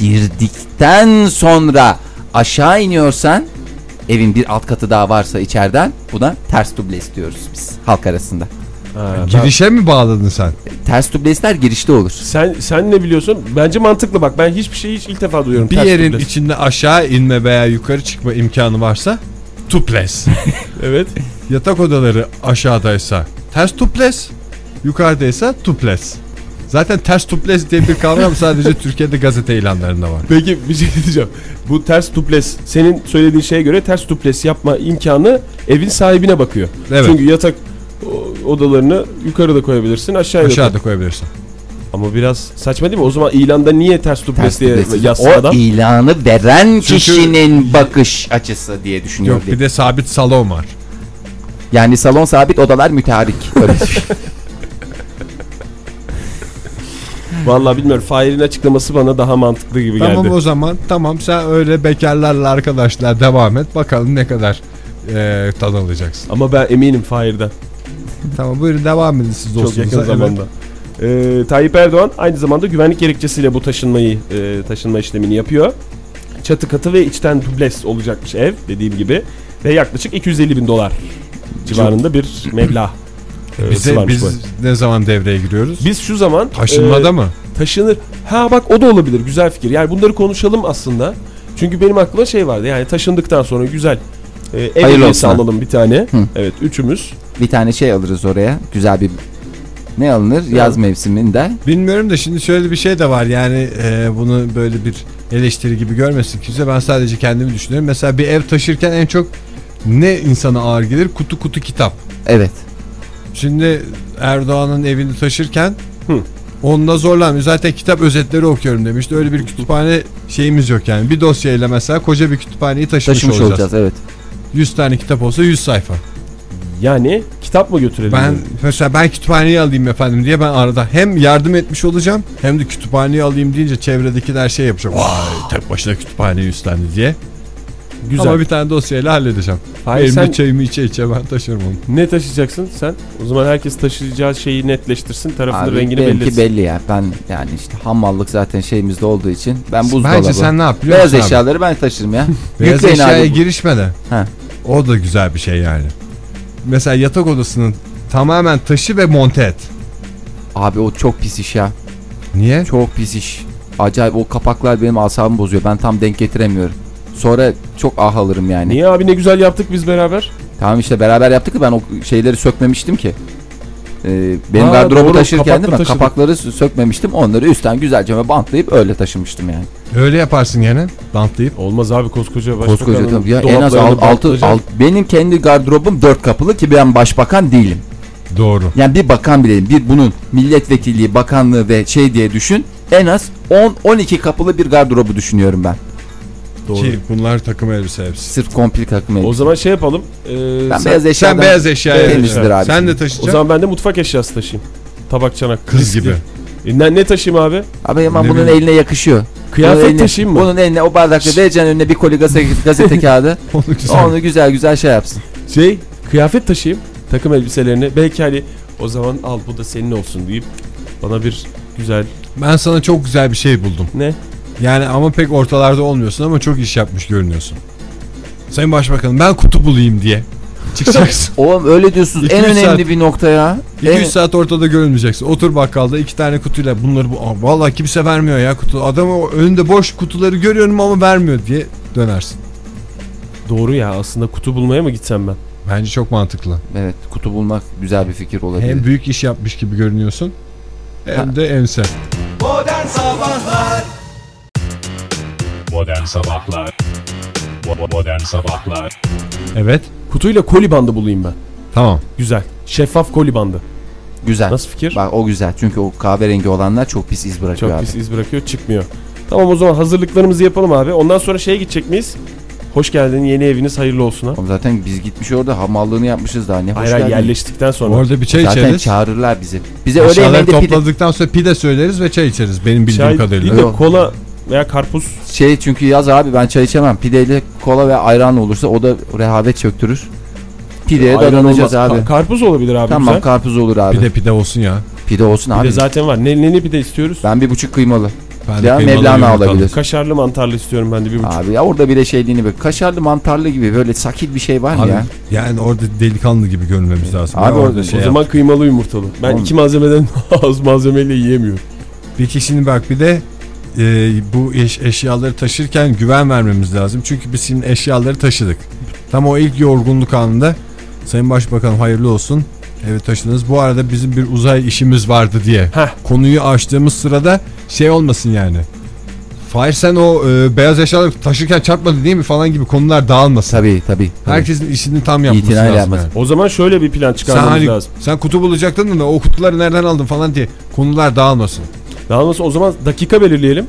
S8: girdikten sonra aşağı iniyorsan evin bir alt katı daha varsa içeriden buna ters tubles diyoruz biz halk arasında.
S7: Ha, ben-
S2: Girişe mi bağladın sen?
S8: Ters tublesler girişte olur.
S7: Sen sen ne biliyorsun? Bence mantıklı bak. Ben hiçbir şeyi hiç ilk defa duyuyorum.
S2: Bir
S7: Ters
S2: yerin
S7: dubles.
S2: içinde aşağı inme veya yukarı çıkma imkanı varsa tuples.
S7: evet.
S2: Yatak odaları aşağıdaysa ters tuples, yukarıdaysa tuples. Zaten ters tuples diye bir kavram sadece Türkiye'de gazete ilanlarında var.
S7: Peki bir şey diyeceğim. Bu ters tuples senin söylediğin şeye göre ters tuples yapma imkanı evin sahibine bakıyor.
S2: Evet.
S7: Çünkü yatak o- odalarını yukarıda koyabilirsin, aşağıda.
S2: Aşağıda koyabilirsin.
S7: Ama biraz saçma değil mi? O zaman ilanda niye ters tuples
S8: Ters
S7: diye
S8: tuples.
S7: yazsın
S8: o
S7: adam?
S8: ilanı veren kişinin bakış açısı diye düşünüyor.
S2: Yok bir de sabit salon var.
S8: Yani salon sabit odalar müteharik. Öyle
S7: Vallahi bilmiyorum. Fahir'in açıklaması bana daha mantıklı gibi
S2: Tamam
S7: geldi.
S2: o zaman tamam sen öyle bekarlarla arkadaşlar devam et bakalım ne kadar eee tad alacaksın.
S7: Ama ben eminim Fahir'den.
S2: Tamam buyurun devam edin siz
S7: Çok
S2: dostunuza.
S7: yakın
S2: Evet.
S7: zamanda. Ee, Tayyip Erdoğan aynı zamanda güvenlik gerekçesiyle bu taşınmayı e, taşınma işlemini yapıyor. Çatı katı ve içten dubles olacakmış ev dediğim gibi ve yaklaşık 250 bin dolar civarında bir meblağ. e,
S2: Bize,
S7: varmış bu.
S2: biz ne zaman devreye giriyoruz?
S7: biz şu zaman
S2: Taşınmada
S7: e,
S2: mı?
S7: taşınır. Ha bak o da olabilir. Güzel fikir. Yani bunları konuşalım aslında. Çünkü benim aklıma şey vardı. Yani taşındıktan sonra güzel e, ev
S8: Hayırlı
S7: hediyesi
S8: olsun.
S7: alalım bir tane.
S8: Hı.
S7: Evet üçümüz.
S8: bir tane şey alırız oraya. Güzel bir ne alınır? Yaz mevsiminde.
S2: Bilmiyorum da şimdi şöyle bir şey de var yani e, bunu böyle bir eleştiri gibi görmesin kimse ben sadece kendimi düşünüyorum. Mesela bir ev taşırken en çok ne insana ağır gelir? Kutu kutu kitap.
S8: Evet.
S2: Şimdi Erdoğan'ın evini taşırken
S7: Hı.
S2: onda zorlanmıyor. Zaten kitap özetleri okuyorum demişti. Öyle bir kütüphane şeyimiz yok yani. Bir dosyayla mesela koca bir kütüphaneyi taşımış,
S8: Taşımış
S2: olacağız.
S8: olacağız. evet.
S2: 100 tane kitap olsa 100 sayfa.
S7: Yani kitap mı götürelim?
S2: Ben mesela ben kütüphaneyi alayım efendim diye ben arada hem yardım etmiş olacağım hem de kütüphaneyi alayım deyince çevredekiler şey yapacak. Vay tek başına kütüphaneyi üstlendi diye.
S7: Güzel.
S2: Ama bir tane dosyayla halledeceğim.
S7: Hayır,
S2: Elimde
S7: sen-
S2: çayımı içe içe ben taşırım onu.
S7: Ne taşıyacaksın sen? O zaman herkes taşıyacağı şeyi netleştirsin. Tarafını
S8: Abi,
S7: rengini
S8: benimki
S7: belli etsin.
S8: belli ya. Ben yani işte hamallık zaten şeyimizde olduğu için ben buzdolabı.
S2: Bence sen ne yap biliyor
S8: Beyaz
S2: musun abi?
S8: eşyaları ben taşırım ya.
S2: Beyaz
S8: Yükleyin
S2: eşyaya
S8: abi bu.
S2: girişme de.
S8: Ha.
S2: O da güzel bir şey yani. Mesela yatak odasının tamamen taşı ve monte et.
S8: Abi o çok pis iş ya.
S2: Niye?
S8: Çok pis iş. Acayip o kapaklar benim asabımı bozuyor. Ben tam denk getiremiyorum. Sonra çok ah alırım yani.
S7: Niye abi ne güzel yaptık biz beraber?
S8: Tamam işte beraber yaptık da ben o şeyleri sökmemiştim ki. Ee, benim
S7: Ha,
S8: gardırobu
S7: doğru,
S8: taşırken de
S7: kapakları
S8: ben
S7: taşıdın.
S8: kapakları sö- sökmemiştim. Onları üstten güzelce böyle bantlayıp öyle taşımıştım yani.
S2: Öyle yaparsın gene. Bantlayıp.
S7: Olmaz abi koskoca başbakanın
S8: Koskoca kapı- ya en az
S7: dolaplarını
S8: alt, altı,
S7: bantlayacak.
S8: alt- benim kendi gardırobum dört kapılı ki ben başbakan değilim.
S2: Doğru.
S8: Yani bir bakan bile değilim. Bir bunun milletvekilliği, bakanlığı ve şey diye düşün. En az 10-12 kapılı bir gardırobu düşünüyorum ben.
S7: Doğru.
S2: Ki bunlar takım elbise hepsi.
S8: Sırf komple takım
S7: O
S8: elbise.
S7: zaman şey yapalım. ee,
S8: Ben
S7: sen-
S8: beyaz eşyadan
S2: Sen beyaz eşyaya
S8: temizdir
S2: girişme.
S8: abi.
S2: Sen de
S7: o
S2: taşıyacaksın.
S7: zaman ben de mutfak eşyası taşıyayım. Tabak çanak.
S2: Kız
S7: Riskli.
S2: gibi.
S7: E, ne, ne taşıyayım abi?
S8: Abi Yaman
S2: Ne
S8: bunun
S2: bileyim.
S8: eline yakışıyor.
S7: Kıyafet
S8: bunun eline,
S7: taşıyayım mı?
S8: Bunun eline o bardakla vereceksin önüne bir koli gazete, gazete kağıdı.
S2: Onu güzel.
S8: Onu güzel güzel şey yapsın.
S7: Şey kıyafet taşıyayım. Takım elbiselerini. Belki hani o zaman al bu da senin olsun deyip bana bir güzel
S2: Ben sana çok güzel bir şey buldum.
S7: ne?
S2: Yani ama pek ortalarda olmuyorsun ama çok iş yapmış görünüyorsun. Sayın Başbakanım ben kutu bulayım diye. Çıkacaksın.
S8: Oğlum öyle diyorsunuz.
S2: İki
S8: en
S2: üç
S8: önemli
S2: saat-
S8: bir nokta ya.
S2: 200
S8: En-
S2: saat ortada görünmeyeceksin. Otur bakkalda iki tane kutuyla bunları bu. Aa, Vallahi kimse vermiyor ya kutu. Adamı o önünde boş kutuları görüyorum ama vermiyor diye dönersin.
S7: Doğru ya aslında kutu bulmaya mı gitsem ben?
S2: Bence çok mantıklı.
S8: Evet kutu bulmak güzel bir fikir olabilir.
S2: Hem büyük iş yapmış gibi görünüyorsun. Hem de ense.
S1: Modern Sabahlar Bo- Modern Sabahlar
S2: Evet.
S7: Kutuyla koli bandı bulayım ben.
S2: Tamam.
S7: Güzel. Şeffaf koli bandı.
S8: Güzel.
S7: Nasıl fikir?
S8: Bak o güzel. Çünkü o kahverengi olanlar çok pis iz bırakıyor
S7: Çok
S8: abi.
S7: pis iz bırakıyor çıkmıyor. Tamam o zaman hazırlıklarımızı yapalım abi. Ondan sonra şeye gidecek miyiz? Hoş geldin yeni eviniz hayırlı olsun ha.
S8: Oğlum zaten biz gitmiş orada hamallığını yapmışız daha ne hoş
S7: Hayır hayır,
S8: geldin.
S7: yerleştikten sonra.
S2: Orada bir çay
S8: Zaten
S2: içeriz.
S8: çağırırlar bizi. Bize öyle
S2: Aşağıları
S8: yemeğinde pide-
S2: topladıktan sonra pide söyleriz ve çay içeriz benim bildiğim
S7: Çay
S2: kadarıyla.
S7: değil de
S8: Yok.
S7: kola veya karpuz.
S8: Şey çünkü yaz abi ben çay içemem. Pideyle kola ve ayran olursa o da rehavet çöktürür. Pideye
S7: Ayran
S8: dadanacağız
S7: olmaz.
S8: abi.
S7: Ka- karpuz olabilir abi
S8: tamam
S7: güzel.
S8: karpuz olur abi. Pide,
S2: Pide pide olsun ya.
S8: olsun
S7: Bir
S8: abi.
S7: de zaten var. Ne, ne, ne bir de istiyoruz?
S8: Ben bir buçuk kıymalı.
S2: Ben
S8: Ya
S2: kıymalı
S8: Mevlana
S2: yumurtalı.
S8: olabilir.
S7: Kaşarlı mantarlı istiyorum ben de bir buçuk.
S8: Abi ya orada bir de şeyliğini böyle kaşarlı mantarlı gibi böyle sakil bir şey var mı
S2: Abi,
S8: ya?
S2: yani orada delikanlı gibi görünmemiz lazım.
S8: Abi
S2: Ya
S8: orada-
S7: o zaman kıymalı yumurtalı. Ben
S8: Oğlum.
S7: iki malzemeden az malzemeyle yiyemiyorum.
S2: Bir kişinin bak bir de e, bu eş- eşyaları taşırken güven vermemiz lazım. Çünkü biz şimdi eşyaları taşıdık. Tam o ilk yorgunluk anında Sayın Başbakanım hayırlı olsun. Evet taşıdınız. Bu arada bizim bir uzay işimiz vardı diye.
S7: Heh.
S2: Konuyu açtığımız sırada şey olmasın yani. Fahir sen o e, beyaz eşyaları taşırken çarpmadı değil mi falan gibi konular dağılmasın.
S8: Tabii tabii. tabii.
S2: Herkesin işini tam yapması
S8: İtinayla
S2: lazım.
S8: yapması.
S2: yani.
S7: O zaman şöyle bir plan
S2: Sen,
S7: çıkarmamız
S2: hani,
S7: lazım.
S2: sen kutu bulacaktın da o kutuları nereden aldın falan diye konular dağılmasın.
S7: Daha doğrusu o zaman dakika belirleyelim.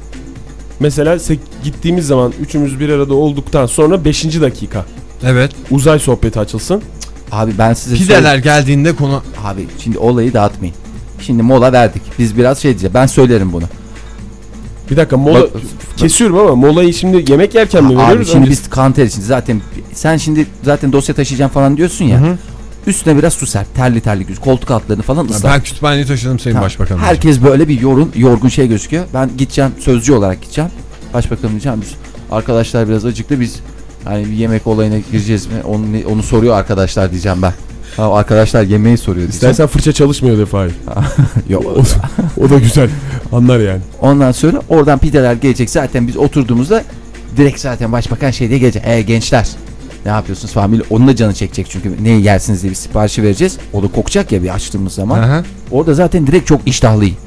S7: Mesela sek- gittiğimiz zaman üçümüz bir arada olduktan sonra 5. dakika.
S2: Evet.
S7: Uzay sohbeti açılsın.
S8: Abi ben size söyle-
S2: Pideler geldiğinde konu
S8: Abi şimdi olayı dağıtmayın. Şimdi mola verdik. Biz biraz şey diyeceğiz. Ben söylerim bunu.
S7: Bir dakika mola
S8: Bak-
S7: kesiyorum ama molayı şimdi yemek yerken mi
S8: Abi
S7: veriyoruz? Hani
S8: şimdi
S7: Önce-
S8: biz kanter için zaten sen şimdi zaten dosya taşıyacağım falan diyorsun ya. Üstüne biraz su serp. Terli terli güz. Koltuk altlarını falan
S2: Ya
S8: ıslat.
S2: Ben kütüphaneyi taşıdım Sayın
S8: Tamam.
S2: Başbakanım.
S8: Herkes böyle bir yorun, yorgun şey gözüküyor. Ben gideceğim sözcü olarak gideceğim. Başbakanım diyeceğim biz arkadaşlar biraz acıktı biz hani bir yemek olayına gireceğiz mi? Onu, onu soruyor arkadaşlar diyeceğim ben. Ha, arkadaşlar yemeği soruyor diyeceğim.
S7: İstersen fırça çalışmıyor defa.
S8: Yok.
S7: O, o da güzel. Anlar yani.
S8: Ondan sonra oradan pideler gelecek. Zaten biz oturduğumuzda direkt zaten başbakan şey diye gelecek. E gençler ne yapıyorsunuz falan bile. Onun da canı çekecek çünkü ne yersiniz diye bir siparişi vereceğiz. O da kokacak ya bir açtığımız zaman.
S2: Aha.
S8: Orada zaten direkt çok iştahlı yiyin.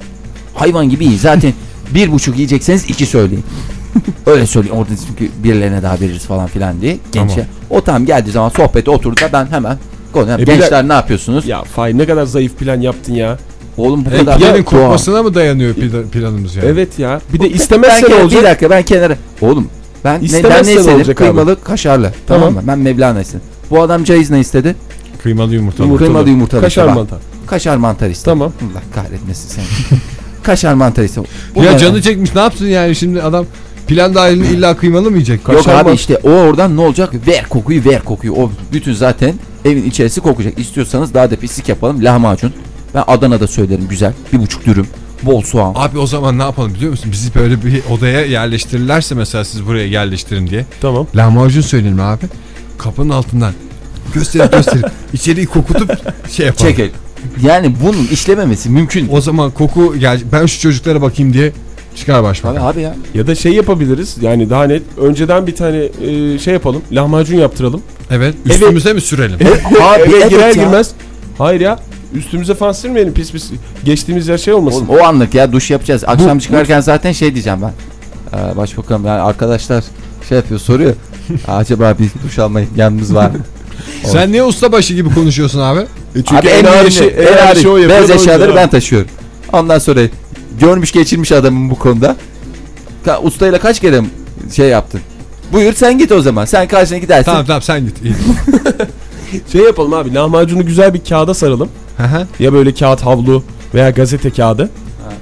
S8: Hayvan gibi yiyin. Zaten bir buçuk yiyecekseniz iki söyleyin. Öyle söyleyin orada çünkü birilerine daha veririz falan filan diye. Gençler. O tam geldiği zaman sohbete oturdu da ben hemen konuya.
S7: E, bir
S8: Gençler ne yapıyorsunuz?
S7: Ya Fahir ne kadar zayıf plan yaptın ya.
S8: Oğlum bu
S2: E,
S8: kadar
S2: pidenin
S8: da doğal.
S2: kokmasına mı dayanıyor pide- planımız yani?
S7: Evet ya. Bir de
S8: ben
S7: istemezsen
S8: kenara- Bir
S7: olacak.
S8: dakika ben kenara. Oğlum ben neden
S7: İstemezsen
S8: ne istedim?
S7: olacak abi.
S8: Kıymalı kaşarlı. Tamam.
S7: Tamam.
S8: mı? Ben Mevlana istedim. Bu adam caiz ne istedi?
S2: Kıymalı yumurtalı.
S8: Yumurta- Kıymalı yumurtalı
S7: Kaşar
S8: işte bak.
S7: mantar.
S8: Kaşar mantar istedi.
S7: Tamam.
S8: Allah kahretmesin seni. kaşar mantar istedi. Bu
S2: Ya
S8: ne
S2: canı çekmiş ne yapsın yani şimdi adam plan dahil illa kıymalı mı yiyecek?
S8: Yok
S7: Kaşar
S8: abi
S7: mı?
S8: işte o oradan ne olacak? Ver kokuyu ver kokuyu. O bütün zaten evin içerisi kokacak. İstiyorsanız daha da pislik yapalım. Lahmacun. Ben Adana'da söylerim güzel. Bir buçuk dürüm. Bol soğan.
S2: Abi o zaman ne yapalım biliyor musun? Bizi böyle bir odaya yerleştirirlerse mesela siz buraya yerleştirin diye.
S7: Tamam.
S2: Lahmacun söyleyelim abi. Kapının altından gösterip gösterip içeriği kokutup şey yapalım.
S8: Çekil. Yani bunun işlememesi mümkün.
S2: O zaman koku gel ben şu çocuklara bakayım diye çıkar
S8: Abi,
S2: başbakan.
S8: abi ya.
S7: Ya da şey yapabiliriz. Yani daha net. Önceden bir tane e, şey yapalım. Lahmacun yaptıralım.
S2: Evet üstümüze mi sürelim?
S8: Abi
S7: Eve
S8: evet
S7: girer
S8: ya.
S7: girmez. Hayır ya. Üstümüze falan sürmeyelim pis pis. Geçtiğimiz yer şey olmasın.
S8: Oğlum o anlık ya duş yapacağız. Akşam çıkarken zaten şey diyeceğim ben. Ee, başbakanım yani arkadaşlar şey yapıyor soruyor. Acaba bir duş alma imkanımız var mı?
S2: Sen niye ustabaşı gibi konuşuyorsun abi?
S8: Abi en
S7: E, ağır
S8: önemli,
S7: şey-
S8: en
S7: ağır
S8: ağır
S7: şey o yapıyor,
S8: beyaz
S7: o yüzden
S8: eşyaları
S7: abi.
S8: ben taşıyorum. Ondan sonra görmüş geçirmiş adamım bu konuda. Ka- ustayla kaç kere şey yaptın? Buyur sen git o zaman. Sen karşına gidersin.
S2: Tamam tamam sen git. İyi.
S7: Şey yapalım abi lahmacunu güzel bir kağıda saralım.
S2: Aha.
S7: Ya böyle kağıt havlu veya gazete kağıdı.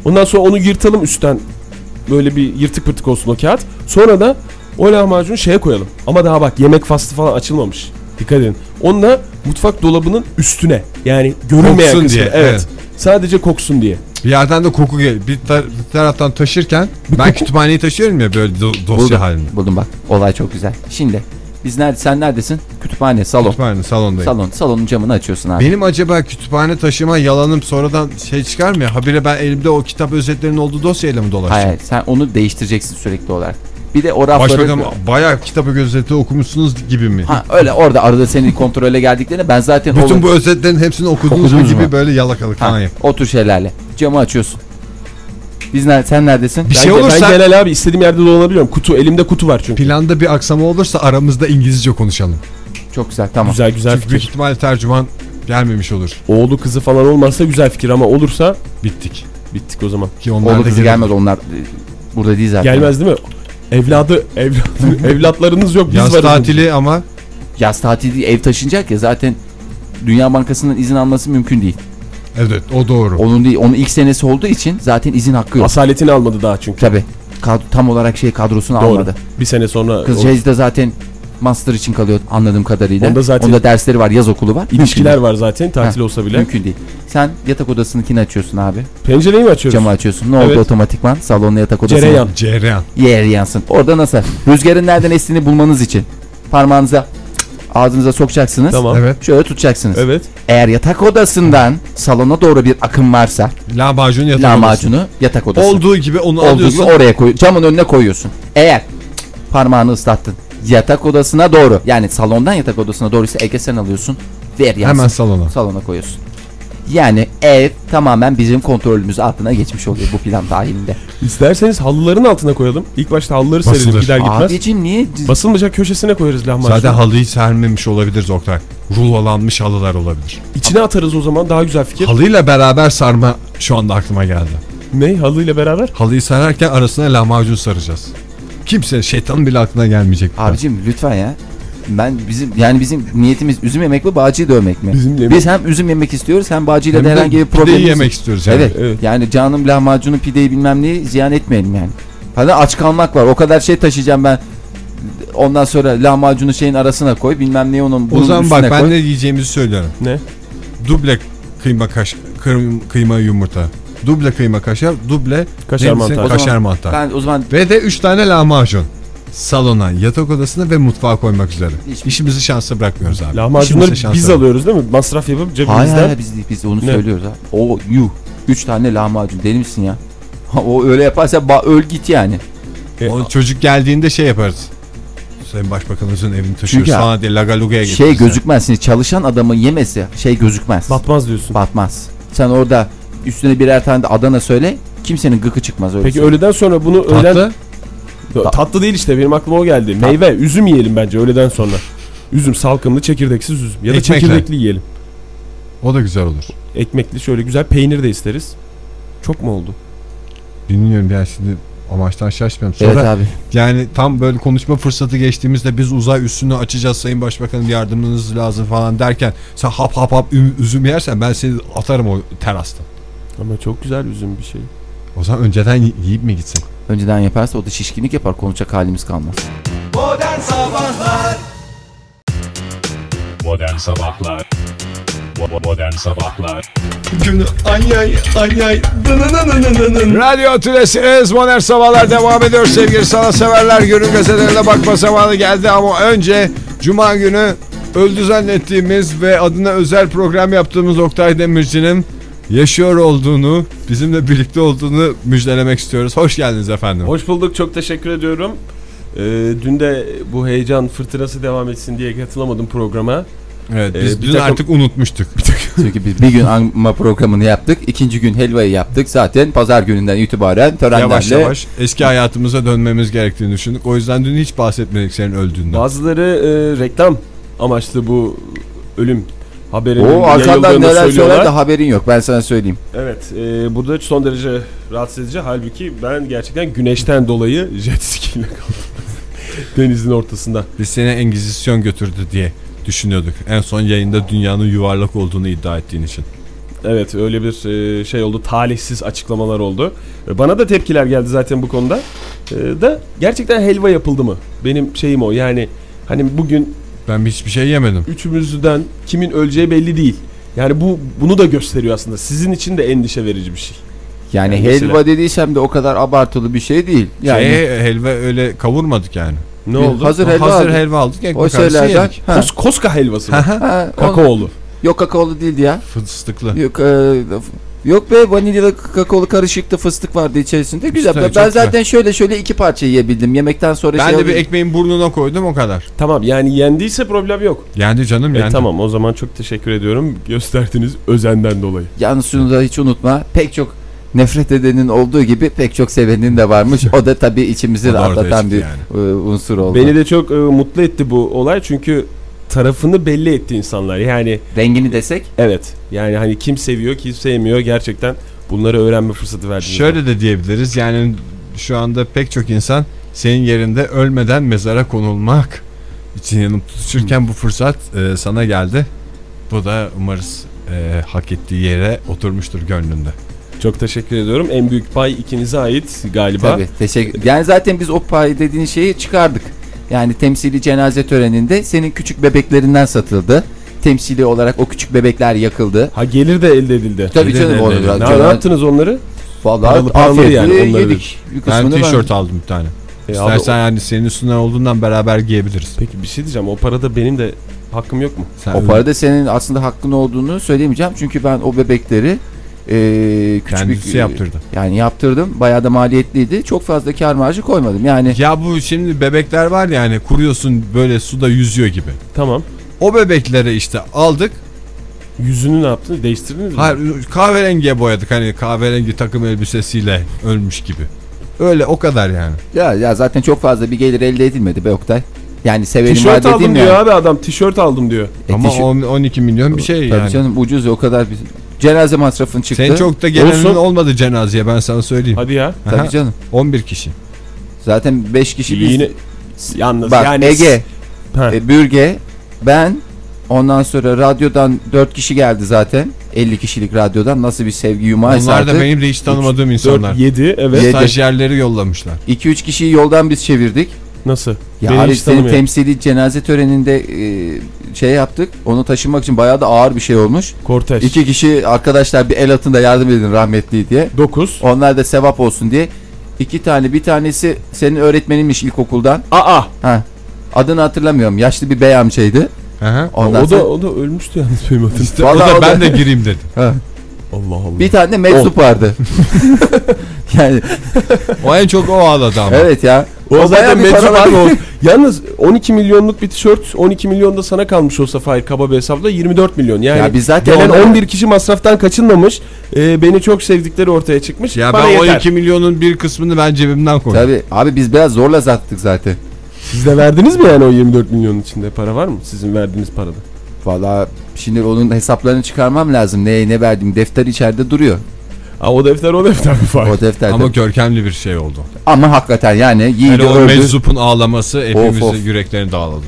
S7: Ondan sonra onu yırtalım üstten. Böyle bir yırtık pırtık olsun o kağıt. Sonra da o lahmacunu şeye koyalım. Ama daha bak yemek faslı falan açılmamış. Dikkat edin. Onu da mutfak dolabının üstüne. Yani görünmeyen
S4: Koksun
S7: kısmı.
S4: diye,
S7: Evet.
S4: evet.
S7: Sadece koksun diye.
S4: Bir yerden de koku gel. Bir, tar- bir taraftan taşırken ben kütüphaneyi taşıyorum ya böyle do- dosya
S7: şey
S8: Buldum.
S4: halinde.
S8: Buldum bak. Olay çok güzel. Şimdi biz nerede sen neredesin? Kütüphane, salon.
S4: Kütüphane salondayım.
S8: Salon. Salonun camını açıyorsun abi.
S4: Benim acaba kütüphane taşıma yalanım sonradan şey çıkar mı? ya? Habire ben elimde o kitap özetlerinin olduğu dosyayla mı dolaşacağım?
S8: Hayır, sen onu değiştireceksin sürekli olarak. Bir de o rafları
S4: Başbakanım bayağı kitabı gözeti okumuşsunuz gibi mi?
S8: Ha öyle orada arada seni kontrole geldiklerinde ben zaten
S4: Bütün
S8: o-
S4: bu özetlerin hepsini okudunuz mu
S8: Okudunuz
S4: gibi
S8: mu?
S4: böyle yalakalık
S8: ha,
S4: falan yap.
S8: o tür şeylerle camı açıyorsun. Biz ner sen neredesin?
S4: Bir
S7: Ben,
S4: şey
S7: E ben
S4: olursa
S7: genel abi istediğim yerde dolanabiliyorum. Kutu elimde kutu var çünkü.
S4: planda bir aksama olursa aramızda İngilizce konuşalım.
S8: Çok güzel tamam.
S7: Güzel güzel
S4: Çünkü büyük
S7: fikir.
S4: ihtimalle tercüman gelmemiş olur.
S7: Oğlu kızı falan olmazsa güzel fikir ama olursa
S4: Bittik.
S7: bittik o zaman.
S4: Ki onlar
S8: Oğlu
S4: da
S8: kızı
S4: gelmez.
S8: gelmez onlar e, burada değil zaten.
S7: Gelmez değil mi? Evladı, evladı, evlatlarınız yok biz
S4: Yaz
S7: varız.
S4: tatili ama
S8: Yaz tatili değil, ev taşınacak ya zaten Dünya Bankası'ndan izin alması mümkün değil.
S4: evet o doğru.
S8: Onun değil onun ilk senesi olduğu için zaten izin hakkı yok.
S7: Asaletini almadı daha çünkü.
S8: Tabi tam olarak şey kadrosunu
S7: Doğru.
S8: almadı. şey-
S7: Bir sene sonra olur.
S8: Kızcağız da zaten master için kalıyor anladığım kadarıyla.
S7: Onda zaten-
S8: Onda dersleri var yaz okulu var. Mümkün
S7: İlişkiler
S8: değil.
S7: var zaten tatil
S8: Ha,
S7: olsa bile.
S8: Mümkün değil. Sen yatak odasınınkini açıyorsun abi.
S7: Pencereyi mi açıyoruz?
S8: Camı açıyorsun. Ne oldu
S7: Evet.
S8: otomatikman? Salonla yatak odasına.
S7: Cereyan.
S4: Cereyan.
S8: Yer yansın. Orada nasıl? Rüzgarın nereden estiğini bulmanız için parmağınıza ağzınıza sokacaksınız.
S7: Tamam. Evet.
S4: Evet.
S8: Şöyle tutacaksınız.
S7: Evet.
S8: Eğer yatak odasından salona doğru bir akım varsa
S4: Lahmacun yatak odası.
S8: lahmacunu yatak odası.
S4: Olduğu gibi onu
S8: Olduğu gibi
S4: alıyorsun.
S8: oraya koy, camın önüne koyuyorsun. Eğer cık, parmağını ıslattın yatak odasına doğru yani salondan yatak odasına doğru ise Ege sen alıyorsun ver yansın.
S4: Hemen salona.
S8: salona koyuyorsun. Yani ev tamamen bizim kontrolümüz altına geçmiş oluyor bu plan dahilinde.
S7: İsterseniz halıların altına koyalım. İlk başta halıları
S4: Basılır.
S7: serelim gider gitmez.
S8: Abicim niye
S7: Basılmayacak köşesine koyarız lahmacunu.
S4: Zaten halıyı sermemiş olabiliriz Oktay. Rulolanmış halılar olabilir.
S7: İçine atarız o zaman daha güzel fikir.
S4: Halıyla beraber sarma şu anda aklıma geldi.
S7: ne halıyla beraber?
S4: Halıyı sararken arasına lahmacun saracağız. Kimse şeytanın bile aklına gelmeyecek. bu tarz.
S8: Abicim lütfen ya. Ben bizim yani bizim niyetimiz üzüm yemek mi bağcıyı dövmek mi?
S7: Bizim yemek-
S8: Biz hem üzüm yemek istiyoruz hem bağcıyla
S4: Hem
S8: da
S4: de
S8: herhangi bir
S4: pideyi
S8: problemimiz yok.
S4: yemek istiyoruz yani.
S8: Evet.
S7: Evet.
S8: Yani canım lahmacunu pideyi bilmem neyi ziyan etmeyelim yani. Hani aç kalmak var. O kadar şey taşıyacağım ben. Ondan sonra lahmacunu şeyin arasına koy. Bilmem neyi onun bunun
S4: O zaman
S8: üstüne
S4: bak ben
S8: koy.
S4: ne yiyeceğimizi söylüyorum.
S7: Ne?
S4: Duble kıyma kaş kırm- kıyma yumurta. Duble kıyma kaşar, duble
S7: Kaşar
S4: neyse,
S7: mantar.
S8: O zaman
S4: kaşar mantar.
S8: Ben o zaman
S4: Ve de 3 tane lahmacun. Salona, yatak odasına ve mutfağa koymak üzere.
S8: Hiç-
S4: İşimizi şansa bırakmıyoruz abi.
S7: Lahmacunları
S4: İşimizi şansa
S7: biz alıyoruz değil mi? Masraf yapıp
S8: hayır
S7: cebimizden.
S8: hayır biz, biz onu
S7: Ne?
S8: söylüyoruz ha. O yuh. Üç tane lahmacun deli misin ya? o öyle yaparsa ba- öl git yani.
S7: E,
S4: O çocuk geldiğinde şey yaparız. Sayın Başbakanımızın evini taşıyoruz
S8: Çünkü
S4: falan diye lagalugaya getiririz.
S8: Şey
S4: yani.
S8: gözükmez. Şimdi çalışan adamın yemesi şey gözükmez.
S7: Batmaz diyorsun.
S8: Batmaz. Sen orada üstüne birer tane de Adana söyle. Kimsenin gıkı çıkmaz öyle.
S7: Peki
S8: söyleyeyim.
S7: öğleden sonra bunu
S4: Tatlı.
S7: öğlen...
S8: Ta-
S7: Tatlı değil işte benim aklıma o geldi. Meyve, üzüm yiyelim bence öğleden sonra. Üzüm salkımlı, çekirdeksiz üzüm. Ya da
S4: Ekmekle.
S7: çekirdekli yiyelim.
S4: O da güzel olur.
S7: Ekmekli şöyle güzel peynir de isteriz. Çok mu oldu?
S4: Bilmiyorum yani şimdi amaçtan şaşmıyorum. Sonra
S8: Evet abi.
S4: yani tam böyle konuşma fırsatı geçtiğimizde biz uzay üssünü açacağız Sayın Başbakanım yardımınız lazım falan derken sen hap hap hap ü- üzüm yersen ben seni atarım o terasta.
S7: Ama çok güzel üzüm bir şey.
S4: O zaman önceden y- yiyip mi gitsin?
S8: Önceden yaparsa o da şişkinlik yapar. Konuşacak halimiz kalmaz.
S1: Modern Sabahlar Bo- Modern Sabahlar
S4: Radyo Tülesi'niz Modern Sabahlar devam ediyor sevgili sanatseverler. Günün gazetelerine bakma zamanı geldi ama önce Cuma günü öldü zannettiğimiz ve adına özel program yaptığımız Oktay Demirci'nin yaşıyor olduğunu, bizimle birlikte olduğunu müjdelemek istiyoruz. Hoş geldiniz efendim.
S7: Hoş bulduk çok teşekkür ediyorum. Ee, dün de bu heyecan fırtınası devam etsin diye katılamadım programa.
S4: Evet,
S7: Ee,
S4: biz
S7: bir
S4: dün
S7: takım-
S4: artık unutmuştuk.
S8: Çünkü biz bir gün anma programını yaptık. ikinci gün helvayı yaptık. Zaten pazar gününden itibaren törenlerle.
S4: Yavaş yavaş eski hayatımıza dönmemiz gerektiğini düşündük. O yüzden dün hiç bahsetmedik senin öldüğünden.
S7: Bazıları e, reklam amaçlı bu ölüm haberini
S8: O arkandan
S7: yayıldığını
S8: neler söyler
S7: söylüyorlar.
S8: de haberin yok. Ben sana söyleyeyim.
S7: Evet e, bu da son derece rahatsız edici. Halbuki ben gerçekten güneşten dolayı jet ski ile kaldım. Denizin ortasında.
S4: Biz seni Engizisyon götürdü diye düşünüyorduk. En son yayında dünyanın yuvarlak olduğunu iddia ettiğin için.
S7: Evet öyle bir e, şey oldu. Talihsiz açıklamalar oldu. E, Bana da tepkiler geldi zaten bu konuda. E, Da gerçekten helva yapıldı mı? Benim şeyim o. Yani hani bugün
S2: Ben hiçbir şey yemedim.
S7: üçümüzden kimin öleceği belli değil. Yani bu bunu da gösteriyor aslında. Sizin için de endişe verici bir şey.
S8: Yani
S7: Yani
S8: helva
S7: mesela-
S8: dediysem de o kadar abartılı bir şey değil. Yani
S2: Şey, helva öyle kavurmadık yani.
S7: Ne
S8: Bir
S7: oldu?
S8: hazır- Hazır helva
S2: Hazır
S8: aldık.
S2: helva aldık. Ekmek
S8: o
S2: arası
S8: şeylerden
S2: yedik.
S8: ha,
S7: Kos- koska helvası. mı?
S8: ha, o-
S7: Kakaolu.
S8: yok kakaolu değildi ya.
S2: Fıstıklı.
S8: Yok, e, yok be vanilyalı kakaolu karışıktı fıstık vardı içerisinde. Güzel.
S2: Güzel,
S8: ben
S2: çok
S8: ben
S2: güzel.
S8: zaten şöyle şöyle iki parça yiyebildim. Yemekten sonra
S2: Ben de
S8: şey
S2: bir
S8: alayım.
S2: ekmeğin burnuna koydum o kadar.
S7: Tamam yani yendiyse problem yok.
S2: Yendi canım
S7: E,
S2: yendi.
S7: tamam o zaman çok teşekkür ediyorum. Gösterdiğiniz özenden dolayı.
S8: Yalnız şunu da hiç unutma. Pek çok nefret edenin olduğu gibi pek çok sevenin de varmış. O da tabii içimizi
S2: O da ortaya
S8: rahatlatan
S2: çıktı
S8: bir
S2: yani.
S8: e, unsur oldu.
S7: Beni de çok e, mutlu etti bu olay çünkü tarafını belli etti insanlar. Yani
S8: Rengini desek
S7: evet yani hani kim seviyor kim sevmiyor gerçekten bunları öğrenme fırsatı verdiniz.
S2: Şöyle de diyebiliriz yani şu anda pek çok insan senin yerinde ölmeden mezara konulmak için yanıp tutuşurken bu fırsat e, sana geldi. Bu da umarız e, hak ettiği yere oturmuştur gönlünde.
S7: Çok teşekkür ediyorum. En büyük pay ikinize ait galiba.
S8: tabii. Teşekkür. Yani zaten biz o pay dediğin şeyi çıkardık. Yani temsili cenaze töreninde senin küçük bebeklerinden satıldı. Temsili olarak o küçük bebekler yakıldı.
S7: Ha gelir de elde edildi.
S8: Tabii
S2: Neden,
S8: canım onu
S2: neden?
S8: biraz.
S7: Ne, ne yaptınız onları? Paralı
S8: Vallahi
S7: paralı
S8: afiyetle
S7: yani onları
S8: yedik. Bir
S2: Ben
S8: kısmını ben-
S2: tişört aldım bir tane.
S7: E,
S2: İstersen
S7: abi,
S2: yani senin üstünden olduğundan beraber giyebiliriz.
S7: Peki bir şey diyeceğim. O parada benim de hakkım yok mu?
S2: Sen
S8: O parada senin aslında hakkın olduğunu söyleyemeyeceğim. Çünkü ben o bebekleri eee küçük
S2: kendisi
S8: bir, e,
S2: yaptırdı.
S8: Yani yaptırdım. Bayağı da maliyetliydi. Çok fazla kar marjı koymadım. Yani
S2: Ya bu şimdi bebekler var ya hani kuruyorsun böyle suda yüzüyor gibi.
S7: Tamam.
S2: O bebekleri işte aldık.
S7: Yüzünü ne yaptınız? Değiştirdiniz mi?
S2: Hayır kahverengiye boyadık hani kahverengi takım elbisesiyle ölmüş gibi. Öyle o kadar yani.
S8: ya, ya zaten çok fazla bir gelir elde edilmedi be Oktay. Yani severim var
S7: Tişört
S8: dediğim
S7: aldım diyor
S8: yani.
S7: abi adam. Tişört aldım diyor.
S8: E,
S2: Ama
S8: tişört-
S2: 10 12 milyon bir şey
S8: Tabii
S2: yani.
S8: canım ucuz o kadar bir cenaze masrafın çıktı.
S2: Senin çok da gelenin
S7: Olsun.
S2: olmadı cenazeye ben sana söyleyeyim.
S7: Hadi ya.
S2: Aha,
S8: Tabii canım.
S2: 11 kişi.
S8: Zaten 5 kişi biz.
S7: Yine yalnız
S8: Bak
S7: yani
S8: Ege,
S7: Ha.
S8: e, Bürge, ben ondan sonra radyodan 4 kişi geldi zaten. 50 kişilik radyodan nasıl bir sevgi yumağı
S2: Onlar da
S8: sardı.
S2: benim de hiç tanımadığım insanlar.
S7: 4 7 evet.
S8: Yedi.
S2: Stajyerleri yollamışlar.
S8: 2-3 kişiyi yoldan biz çevirdik.
S7: Nasıl?
S8: Ya
S7: Beni
S8: Arif
S7: hiç
S8: senin
S7: tanımıyor.
S8: temsili cenaze töreninde e, şey yaptık. Onu taşımak için bayağı da ağır bir şey olmuş.
S7: Kortej.
S8: İki kişi arkadaşlar bir el atın da yardım edin rahmetli diye.
S7: 9.
S8: Onlar da sevap olsun diye. İki tane bir tanesi senin öğretmeninmiş ilkokuldan.
S7: Aa.
S8: Ha. Adını hatırlamıyorum. Yaşlı bir bey amcaydı.
S2: Aha.
S8: Ondan
S7: o da
S8: sonra-
S7: o da ölmüştü yalnız benim hatırım.
S2: İşte o
S8: Vallahi
S2: da
S8: o
S2: ben
S8: da-
S2: de gireyim dedi.
S7: Allah Allah.
S8: bir tane de meczup vardı. yani
S2: O en çok o ağladı ama.
S8: evet ya.
S7: o
S8: bayağı
S7: zaten
S8: bir
S7: meczup
S8: paralar-
S7: abi o. Yalnız 12 milyonluk bir tişört 12 milyon da sana kalmış olsa Fahir kaba bir hesapla 24 milyon. Yani
S8: Ya biz zaten
S7: gelen
S8: onları-
S7: 11 kişi masraftan kaçınmamış. Ee, beni çok sevdikleri ortaya çıkmış.
S2: Ya
S7: Bana
S2: ben o
S7: yeter.
S2: 2 milyonun bir kısmını ben cebimden koydum.
S8: Tabii abi biz biraz zorla sattık zaten.
S7: Siz de verdiniz mi yani o 24 milyonun içinde para var mı? Sizin verdiğiniz parada.
S8: Valla şimdi onun hesaplarını çıkarmam lazım. Neye ne verdim? Defter içeride duruyor.
S7: Aa, o defter o defter mi Fahir?
S8: O defterde.
S2: Ama
S8: Ama,
S2: görkemli bir şey oldu.
S8: hakikaten yani yiğidi
S2: Yani o
S8: öldü.
S2: meczupun ağlaması hepimizin
S8: of.
S2: yüreklerini dağladı.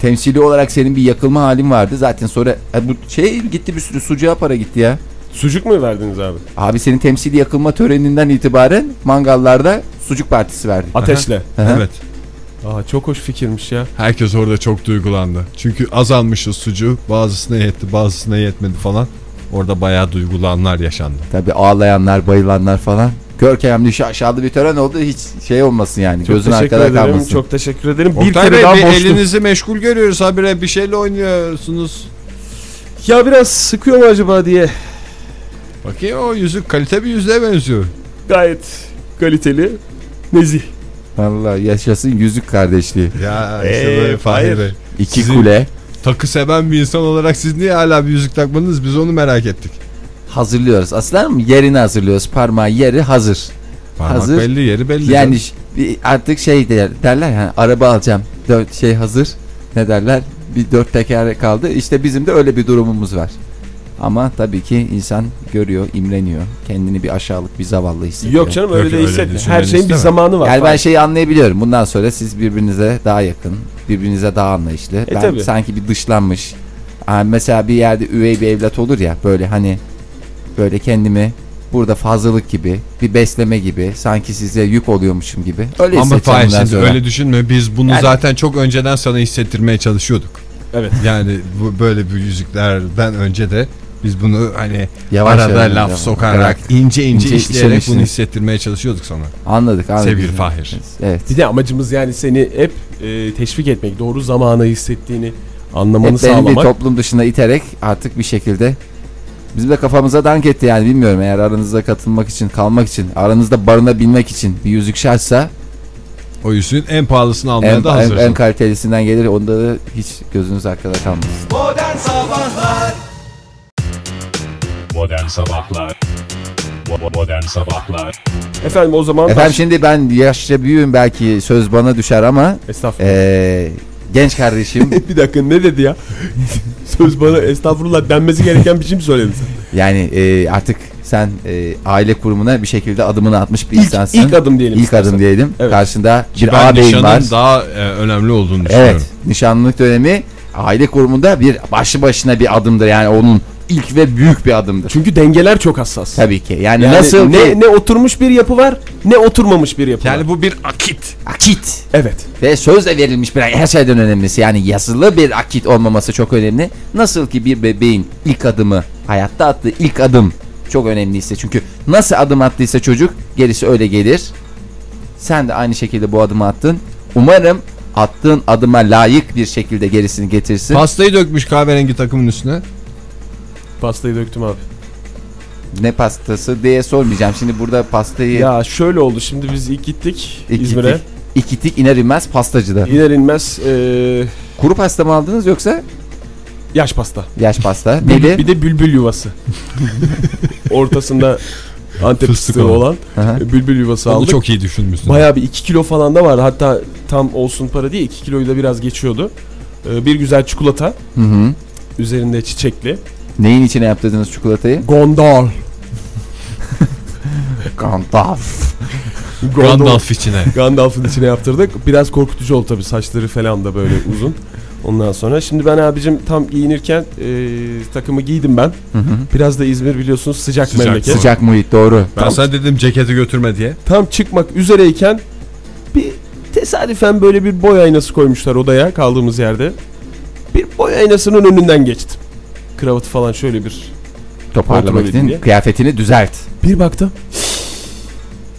S8: Temsili olarak senin bir yakılma halin vardı. Zaten sonra e, bu şey gitti bir sürü sucuğa para gitti ya.
S7: Sucuk mu verdiniz abi?
S8: Abi senin temsili yakılma töreninden itibaren mangallarda sucuk partisi verdik.
S7: Ateşle.
S8: Aha.
S2: Evet.
S7: Aa çok hoş fikirmiş ya.
S2: Herkes orada çok duygulandı. Çünkü azalmışız sucuğu. Bazısına yetti, bazısına yetmedi falan. Orada bayağı duygulanlar yaşandı.
S8: Tabii ağlayanlar, bayılanlar falan. Görkemli şaşalı bir tören oldu. Hiç şey olmasın yani.
S7: Çok
S8: Gözün
S7: teşekkür
S8: arkada
S7: ederim.
S8: kalmasın.
S7: Çok teşekkür ederim.
S2: Bir
S7: bir kere
S2: Bey,
S7: daha
S2: bir
S7: borçluyum.
S2: elinizi meşgul görüyoruz habire bir şeyle oynuyorsunuz.
S7: Ya biraz sıkıyor mu acaba diye.
S2: Bakayım o yüzük kalite bir yüzüğe benziyor.
S7: Gayet kaliteli. Nezih.
S8: Vallahi yaşasın yüzük kardeşliği.
S2: Ya
S7: işte böyle Fahir Bey.
S8: İki
S2: Sizin-
S8: kule.
S2: Takı seven bir insan olarak siz niye hala bir yüzük takmadınız biz onu merak ettik.
S8: Hazırlıyoruz. Aslında mı? Yerini hazırlıyoruz. Parmağı yeri hazır.
S2: Parmak
S8: Hazır.
S2: belli yeri belli.
S8: Yani
S2: canım.
S8: ş- bir artık şey der- derler yani araba alacağım. Dört şey hazır. Ne derler? Bir dört teker kaldı. İşte bizim de öyle bir durumumuz var. Ama tabii ki insan görüyor, imreniyor. Kendini bir aşağılık, bir zavallı hissediyor.
S7: Yok canım
S2: Yok,
S7: öyle de
S2: öyle
S7: hissetme. Her
S2: düşünmeni
S7: şeyin bir
S2: istemem.
S7: zamanı var.
S8: Yani ben
S7: Fahir.
S8: şeyi anlayabiliyorum. Bundan sonra siz birbirinize daha yakın, birbirinize daha anlayışlı. ben
S7: tabii.
S8: sanki bir dışlanmış. Ha, mesela bir yerde üvey bir evlat olur ya böyle hani böyle kendimi burada fazlalık gibi, bir besleme gibi, sanki size yük oluyormuşum gibi. Öyle
S4: Ama
S8: hissedeceğim
S4: Fahir
S8: bundan
S4: şimdi
S8: sonra.
S4: öyle düşünme. Biz bunu
S8: Yani-
S4: zaten çok önceden sana hissettirmeye çalışıyorduk.
S7: Evet.
S4: Yani bu böyle bir yüzüklerden önce de biz bunu hani
S8: Yavaş
S4: arada
S8: yavaş,
S4: laf
S8: yavaş.
S4: sokarak ince ince,
S8: İnce
S4: işleyerek bunu
S8: işlemişsiniz.
S4: hissettirmeye çalışıyorduk sana.
S8: Anladık, anladık.
S4: Sevgili Fahir.
S8: Evet.
S7: Bir de amacımız yani seni hep e, teşvik etmek, doğru zamana hissettiğini anlamanı
S8: Hep beni bir
S7: sağlamak.
S8: toplum dışına iterek artık bir şekilde bizim de kafamıza dank etti yani bilmiyorum eğer aranızda katılmak için, kalmak için, aranızda barınabilmek için bir yüzük şartsa
S4: O yüzüğün en pahalısını almaya
S8: en,
S4: da
S8: en,
S4: hazırsın.
S8: en kalitelisinden gelir onda da hiç gözünüz arkada kalmasın.
S1: Modern Sabahlar Bo- Modern Sabahlar
S7: Efendim o zaman
S8: Efendim şimdi ben yaşça büyüğüm belki söz bana düşer ama
S7: Estağfurullah.
S8: Ee, eee, genç kardeşim
S7: bir dakika ne dedi ya? Söz bana estağfurullah denmesi gereken biçim söyledin sen.
S8: yani eee, artık sen eee, aile kurumuna bir şekilde adımını atmış bir
S7: İlk,
S8: insansın.
S7: ilk adım diyelim.
S8: İlk
S7: istersen.
S8: adım diyelim.
S7: Evet.
S8: Karşında bir
S4: ben
S8: ağabeyin
S4: nişanın
S8: var.
S4: daha e, önemli olduğunu düşünüyorum.
S8: Evet. Nişanlılık dönemi aile kurumunda bir başlı başına bir adımdır. Yani onun ilk ve büyük bir adımdır.
S7: Çünkü dengeler çok hassas.
S8: Tabii ki. Yani,
S7: Yani
S8: nasıl
S7: ne
S8: ki
S7: ne oturmuş bir yapı var, ne oturmamış bir yapı var.
S4: Yani bu bir akit.
S8: akit
S7: Evet.
S8: ve sözle verilmiş bir her şeyden önemlisi yani yazılı bir akit olmaması çok önemli. Nasıl ki bir bebeğin ilk adımı hayatta attığı ilk adım çok önemliyse çünkü nasıl adım attıysa çocuk gerisi öyle gelir. Sen de aynı şekilde bu adımı attın. Umarım attığın adıma layık bir şekilde gerisini getirsin.
S4: Pastayı dökmüş kahverengi takımın üstüne.
S7: Pastayı döktüm abi.
S8: ne pastası diye sormayacağım. Şimdi burada pastayı
S7: Ya şöyle oldu şimdi biz ilk gittik
S8: İkitik.
S7: İzmir'e.
S8: İkitik iner inmez pastacıda.
S7: İner inmez e, eee,
S8: Kuru pasta mı aldınız yoksa
S7: yaş pasta.
S8: yaş pasta?
S7: Bülbül-
S8: Neli?
S7: Bir de bülbül yuvası. Ortasında Antep
S4: Fıstık
S7: fıstığı
S4: olan.
S7: olan
S8: Aha.
S7: bülbül yuvası
S4: Onu
S7: aldık.
S4: çok iyi düşünmüşsün.
S7: Bayağı bir 2 kilo falan da vardı. Hatta tam olsun para değil 2 kiloyu da biraz geçiyordu. Ee, bir güzel çikolata
S8: Hı hı.
S7: üzerinde çiçekli.
S8: Neyin içine yaptırdınız çikolatayı?
S7: Gondol.
S8: Gandalf.
S4: Gandalf içine.
S7: Gandalf'ın içine yaptırdık. Biraz korkutucu oldu tabii saçları falan da böyle uzun. Ondan sonra şimdi ben abicim tam giyinirken e, takımı giydim ben.
S8: Hı hı.
S7: Biraz da İzmir biliyorsunuz sıcak,
S4: Sıcak.
S7: memleket.
S8: Sıcak muhit doğru.
S4: Ben sana dedim ceketi götürme diye.
S7: Tam çıkmak üzereyken bir tesadüfen böyle bir boy aynası koymuşlar odaya kaldığımız yerde. Bir boy aynasının önünden geçtim. Kravatı falan şöyle bir.
S8: Toparlamak
S7: Oturma
S8: için
S7: diye.
S8: kıyafetini düzelt.
S7: Bir baktım.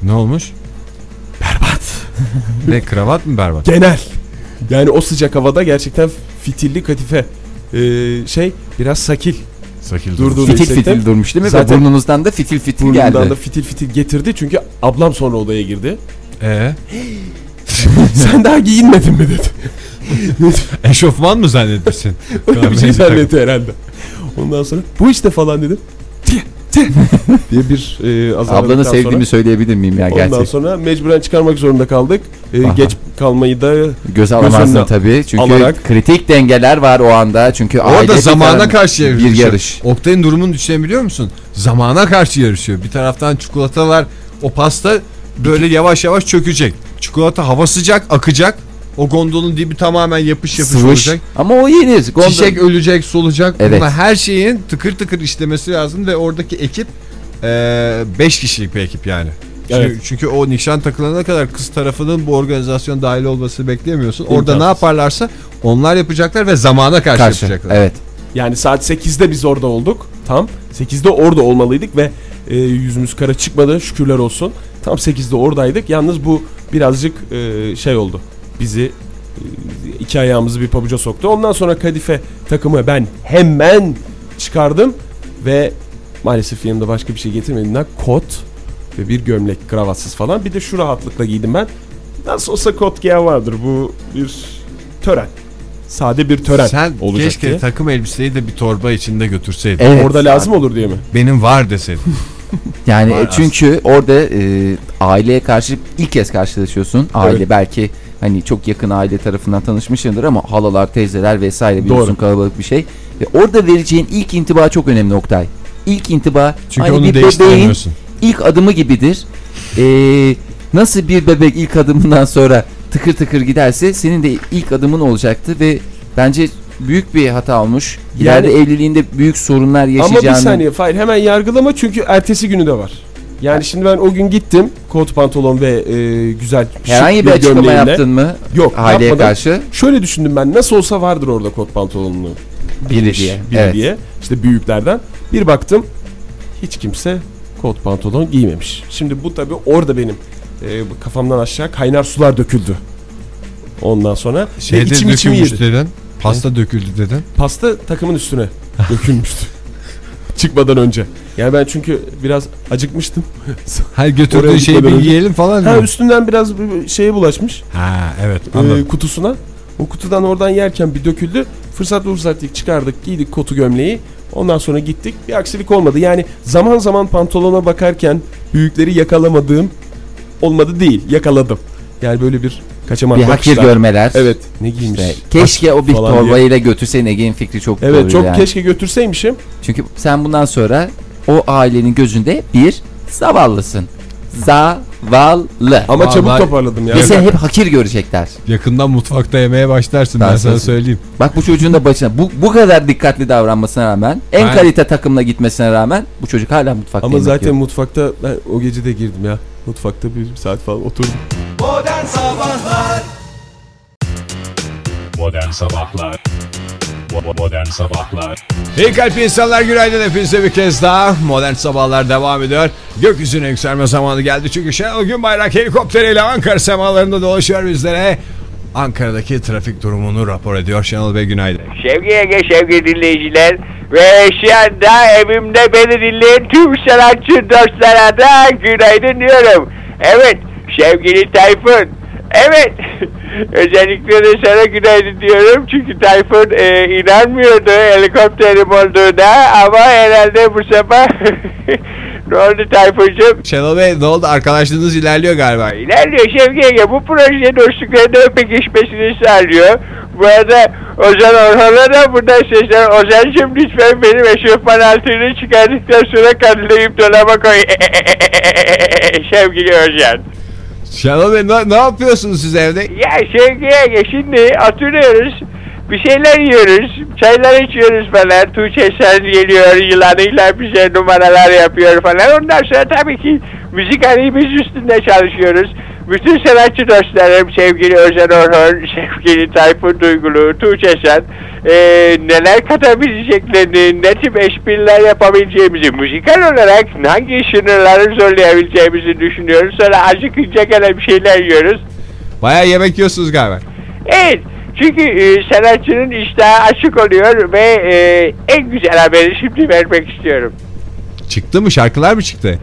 S4: Ne olmuş?
S7: Berbat.
S4: Ne kravat mı berbat?
S7: Genel. Yani o sıcak havada gerçekten fitilli katife. e, şey biraz sakil.
S4: Sakil
S7: Durdu.
S4: durdu.
S8: Fitil
S7: hissettim.
S8: fitil durmuş değil mi? Ve
S7: Zaten-
S8: burnunuzdan da fitil fitil
S7: Burnundan
S8: geldi.
S7: da fitil fitil getirdi çünkü ablam sonra odaya girdi.
S4: Ee,
S7: Sen daha giyinmedin mi dedi.
S4: eşofman mı zannetmişsin?
S7: Öyle bir
S4: Kahverengi
S7: şey zannetti herhalde. Ondan sonra bu işte falan dedim. Tih, tih diye bir e, azarladıktan
S8: Ablanı sevdiğimi
S7: sonra.
S8: söyleyebilir miyim ya
S7: Ondan
S8: gerçekten?
S7: sonra mecburen çıkarmak zorunda kaldık. E,
S8: Aha.
S7: geç kalmayı da
S8: Göz alamazsın
S7: önüne
S8: tabii. Çünkü
S7: alarak-
S8: kritik dengeler var o anda. Çünkü
S4: Orada
S8: aile-
S4: zamana karşı yarışıyor.
S8: bir yarış.
S4: Oktay'ın durumunu düşünebiliyor musun? Zamana karşı yarışıyor. Bir taraftan çikolata var. O pasta böyle yavaş yavaş çökecek. Çikolata hava sıcak, akacak. O gondolun dibi tamamen yapış yapış
S8: Sıvış.
S4: olacak.
S8: Ama o yenir. Gondol-
S4: Çiçek ölecek, solacak.
S8: Evet.
S4: Buna her şeyin tıkır tıkır işlemesi lazım ve oradaki ekip 5 kişilik bir ekip yani. Çünkü,
S7: Evet.
S4: çünkü o nişan takılana kadar kız tarafının bu organizasyon dahil olmasını bekleyemiyorsun. Orada ne
S7: İmkansız.
S4: yaparlarsa onlar yapacaklar ve zamana karşı,
S8: karşı.
S4: yapacaklar.
S8: Evet.
S7: yani saat 8'de biz orada olduk. Tam 8'de orada olmalıydık ve e, yüzümüz kara çıkmadı şükürler olsun. Tam 8'de oradaydık. Yalnız bu birazcık e, şey oldu. Bizi e, iki ayağımızı bir pabuca soktu. Ondan sonra Kadife takımı ben hemen çıkardım ve maalesef yanımda başka bir şey getirmediğimden kot ve bir gömlek kravatsız falan. Bir de şu rahatlıkla giydim ben. Nasıl olsa kot giyen vardır. Bu bir tören. Sade bir tören
S4: Sen
S7: olacak
S4: keşke
S7: diye.
S4: takım elbiseyi de bir torba içinde götürseydin.
S8: Evet.
S7: Orada lazım olur diye mi?
S4: Benim var deseydin.
S8: Yani
S4: Var
S8: çünkü orada e, aileye karşı ilk kez karşılaşıyorsun. Aile
S7: Evet.
S8: belki hani çok yakın aile tarafından tanışmışsındır ama halalar, teyzeler vesaire biliyorsun
S7: Doğru.
S8: kalabalık bir şey. Ve orada vereceğin ilk intiba çok önemli Oktay. İlk intiba
S4: Çünkü
S8: hani
S4: onu
S8: bir bebeğin
S4: değiştiremiyorsun.
S8: ilk adımı gibidir. E, nasıl bir bebek ilk adımından sonra tıkır tıkır giderse senin de ilk adımın olacaktı ve bence büyük bir hata olmuş.
S7: Yani-
S8: İleride evliliğinde büyük sorunlar
S7: Ama bir
S8: yaşayacağını.
S7: saniye Fahir hemen yargılama çünkü ertesi günü de var. Yani şimdi ben o gün gittim kot pantolon ve e, güzel şık
S8: Herhangi bir açıklama
S7: gömleğimle.
S8: yaptın mı?
S7: Yok
S8: Aileye
S7: yapmadım.
S8: karşı
S7: Şöyle düşündüm ben nasıl olsa vardır orada kot pantolonlu
S8: biri diye.
S7: biri
S8: evet.
S7: diye işte büyüklerden. Bir baktım hiç kimse kot pantolon giymemiş. Şimdi bu tabi orada benim e, bu kafamdan aşağı kaynar sular döküldü. Ondan sonra ve
S2: Şeyde
S7: içim içimi
S2: dökülmüş
S7: yedi.
S2: dedin. Pasta döküldü dedin.
S7: Pasta takımın üstüne dökülmüştü. Çıkmadan önce. Yani ben çünkü biraz acıkmıştım.
S2: Hayır
S7: Oraya
S2: götürdüğün şeyi bir
S7: gitmeden önce-
S2: yiyelim falan
S7: ha
S2: diyor.
S7: üstünden biraz bir- bir şeye bulaşmış
S2: Ha evet
S7: e,
S2: anladım.
S7: kutusuna. O kutudan oradan yerken bir döküldü. Fırsat fırsat dedik, çıkardık giydik kotu gömleği. Ondan sonra gittik. Bir aksilik olmadı. Yani zaman zaman pantolona bakarken büyükleri yakalamadığım olmadı değil. Yakaladım. Yani böyle bir kaçamak
S8: Bir hakir
S7: bakışlar.
S8: görmeler.
S7: Evet. Ne giymiş?
S8: İşte keşke o bir
S7: Falan diye.
S8: torbayla götürseydin Ege'nin fikri çok doğru
S7: Evet çok
S8: yani.
S7: keşke götürseymişim.
S8: Çünkü sen bundan sonra o ailenin gözünde bir zavallısın. Zavallı.
S7: Ama
S2: Vallahi-
S7: çabuk toparladım ya.
S8: Ve seni hep hakir görecekler.
S2: Yakından mutfakta yemeye başlarsın ben,
S8: Ben
S2: sana
S8: sana-
S2: söyleyeyim.
S8: Bak bu çocuğun da başına bu, bu kadar dikkatli davranmasına rağmen en
S2: Ben-
S8: kalite takımla gitmesine rağmen bu çocuk hala mutfakta
S7: Ama
S8: yemek
S7: zaten
S8: yiyor.
S7: mutfakta ben o gece de girdim ya. Mutfakta bir saat falan oturdum.
S1: Modern Sabahlar Bo- Modern Sabahlar
S2: İyi kalp insanlar günaydın hepinize bir kez daha. Modern sabahlar devam ediyor. Gökyüzüne yükselme zamanı geldi. Çünkü Şenol Gün bayrak helikopteriyle Ankara semalarında dolaşıyor bizlere. Ankara'daki trafik durumunu rapor ediyor Şenol Bey günaydın.
S10: Sevgi Ege, sevgi dinleyiciler ve şu anda evimde beni dinleyen tüm sanatçı dostlara da günaydın diyorum. Evet, sevgili Tayfun. Evet, özellikle de sana günaydın diyorum çünkü Tayfun e, inanmıyordu helikopterim olduğuna ama herhalde bu sefer ne oldu Tayfuncuğum?
S2: Şenol Bey ne oldu arkadaşlığınız ilerliyor galiba.
S10: İlerliyor Şevki Ege. Bu proje dostluklarının pekişmesini sağlıyor. Bu arada Ozan Orhan'a da buradan sesler. Ozan'cım lütfen benim eşofman altını çıkardıktan sonra katlayıp dolaba koy. Sevgili Ozan.
S2: Şenol Bey ne, ne yapıyorsunuz siz evde?
S10: Ya Şevki Ege şimdi oturuyoruz. Bir şeyler yiyoruz. Çaylar içiyoruz falan. Tuğçe Sen geliyor yılanıyla bize numaralar yapıyor falan. Ondan sonra tabii ki müzik biz üstünde çalışıyoruz. Bütün sanatçı dostlarım, sevgili Özen Orhan, sevgili Tayfun Duygulu, Tuğçe Sen, eee, neler katabileceklerini, ne tip espriler yapabileceğimizi, müzikal olarak hangi sınırları zorlayabileceğimizi düşünüyoruz. Sonra acıkınca gene bir şeyler yiyoruz.
S2: Bayağı yemek yiyorsunuz galiba.
S10: Evet. Çünkü e, sanatçının iştahı açık oluyor ve e, en güzel haberi şimdi vermek istiyorum.
S2: Çıktı mı şarkılar mı çıktı?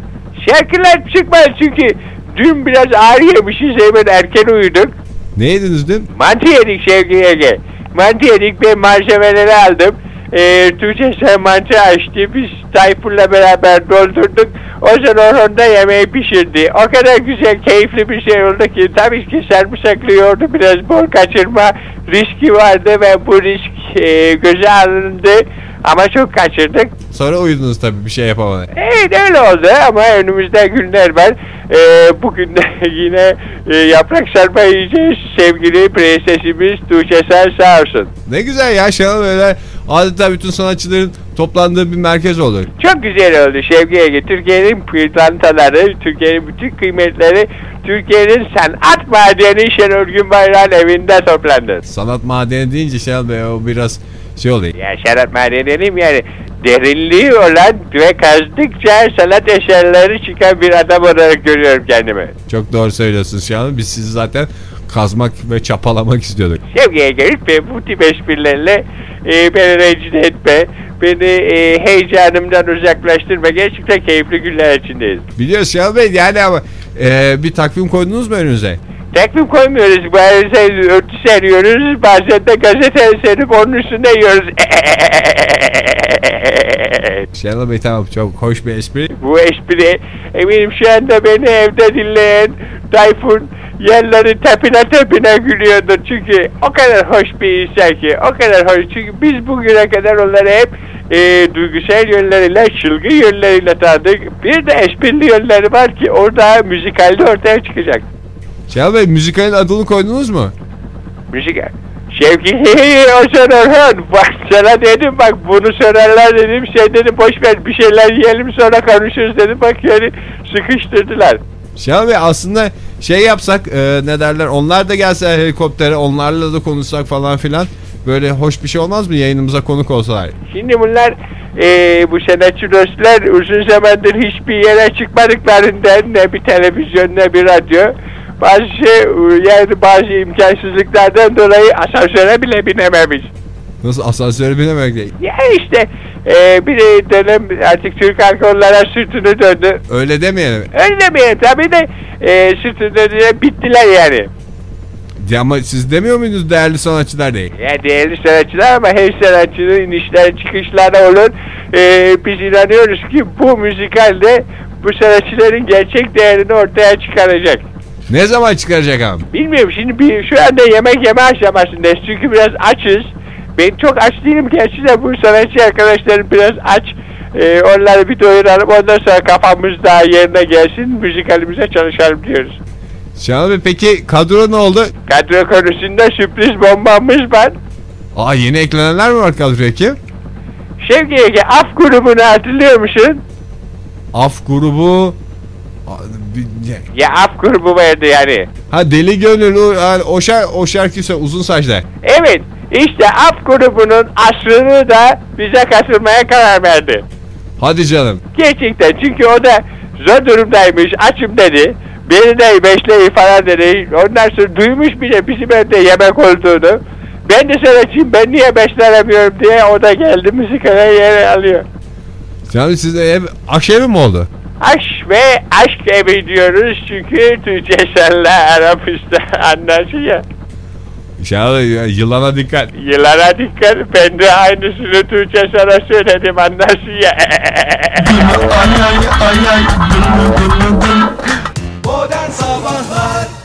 S10: Şarkılar çıkmaz çünkü dün biraz ağır yemişiz hemen erken uyuduk.
S2: Ne yediniz dün?
S10: Mantı yedik Şevki Ege. Mantı yedik ve malzemeleri aldım. E, Tuğçe sen mantı açtı. Biz Tayfur'la beraber doldurduk. O zaman Orhun da yemeği pişirdi. O kadar güzel, keyifli bir şey oldu ki tabii ki sarımsaklıyordu. Biraz bol kaçırma riski vardı ve bu risk e, göze alındı. Ama çok kaçırdık.
S2: Sonra uyudunuz tabii bir şey yapamadan.
S10: Evet öyle oldu ama önümüzde günler var. Ee, bugün de yine e, yaprak sarma yiyeceğiz. Sevgili prensesimiz Tuğçe Sen sağ olsun.
S2: Ne güzel ya Şenol Beyler adeta bütün sanatçıların toplandığı bir merkez olur.
S10: Çok güzel oldu Şevki Ege. Türkiye'nin pırlantaları, Türkiye'nin bütün kıymetleri, Türkiye'nin sanat madeni Şenol Günbayrak'ın evinde toplandı.
S2: Sanat madeni deyince Şenol Bey o biraz şey oluyor.
S10: Ya sanat madeni dedim yani derinliği olan ve kazdıkça sanat eserleri çıkan bir adam olarak görüyorum kendimi.
S2: Çok doğru söylüyorsunuz Şenol Bey. Biz sizi zaten kazmak ve çapalamak istiyorduk.
S10: Sevgiye gelip ve bu tip esprilerle e, beni rencide etme, beni e, heyecanımdan uzaklaştırma. Gerçekten keyifli günler içindeyiz.
S2: Biliyoruz Şenol Bey yani ama e, bir takvim koydunuz mu önünüze?
S10: Takvim koymuyoruz, bazen örtü seriyoruz, bazen de gazete serip onun üstünde yiyoruz.
S2: Şenol Bey Şey tamam çok hoş bir espri.
S10: bu espri eminim şu anda beni evde dinleyen Tayfun yerleri tepine tepine gülüyordu çünkü o kadar hoş bir insan ki o kadar hoş çünkü biz bugüne kadar onları hep e, duygusal yönleriyle çılgın yönleriyle tanıdık bir de esprili yönleri var ki orada müzikalde ortaya çıkacak
S2: Şey Şenol Bey müzikalin adını koydunuz mu?
S10: müzik Şevki hey Ozan Orhan bak sana dedim bak bunu sorarlar dedim sen dedim boş ver bir şeyler yiyelim sonra konuşuruz dedim bak yani sıkıştırdılar.
S4: Şahin Bey aslında şey yapsak e, ne derler onlar da gelse helikoptere onlarla da konuşsak falan filan böyle hoş bir şey olmaz mı yayınımıza konuk olsalar?
S10: Şimdi bunlar eee, bu sanatçı dostlar uzun zamandır hiçbir yere çıkmadıklarından ne bir televizyon ne bir radyo bazı şey, yani bazı imkansızlıklardan dolayı asansöre bile binememiş.
S4: Nasıl asansöre binemek değil.
S10: Ya işte eee bir dönem artık Türk alkollara sırtını döndü.
S4: Öyle demeyelim.
S10: Öyle demeyelim tabii de eee sırtını döndü bittiler yani.
S4: Ya ama siz demiyor muydunuz değerli sanatçılar değil?
S10: Yani değerli sanatçılar ama her sanatçının inişler çıkışları olur. Ee, biz inanıyoruz ki bu müzikal de bu sanatçıların gerçek değerini ortaya çıkaracak.
S4: Ne zaman çıkaracak abi?
S10: Bilmiyorum şimdi bir, şu anda yemek yeme aşamasındayız çünkü biraz açız. Ben çok aç değilim gerçi de bu sanatçı arkadaşlarım biraz aç. Ee, onları bir doyuralım ondan sonra kafamız daha yerine gelsin müzikalimize çalışalım diyoruz.
S4: Şahin Bey peki kadro ne oldu?
S10: Kadro konusunda sürpriz bombamız var.
S4: Aa yeni eklenenler mi var kadroya kim?
S10: Şevki Ege Af grubunu hatırlıyor musun?
S4: Af grubu... Aa, bir- ya-
S10: Ya af grubu vardı yani.
S4: Ha Deli Gönül o, yani o, şar, o şarkıysa uzun saçlar.
S10: Evet işte af grubunun aslını da bize katılmaya karar verdi.
S4: Hadi canım.
S10: Gerçekten çünkü o da zor durumdaymış açım dedi. Beni de beşleyin falan dedi. Ondan sonra duymuş bile bizim evde yemek olduğunu. Ben de sanatçıyım ben niye beslenemiyorum diye o da geldi müzikale yer alıyor.
S4: Canım siz ev, akşevi mi oldu?
S10: Aşk ve aşk evi diyoruz çünkü Türkçe senle Arapista anlaşıyor.
S4: Şahane ya, yılana Şey, dikkat.
S10: Yıllara dikkat ben de aynısını Türkçe sana söyledim anlaşıyor.
S4: Modern Sabahlar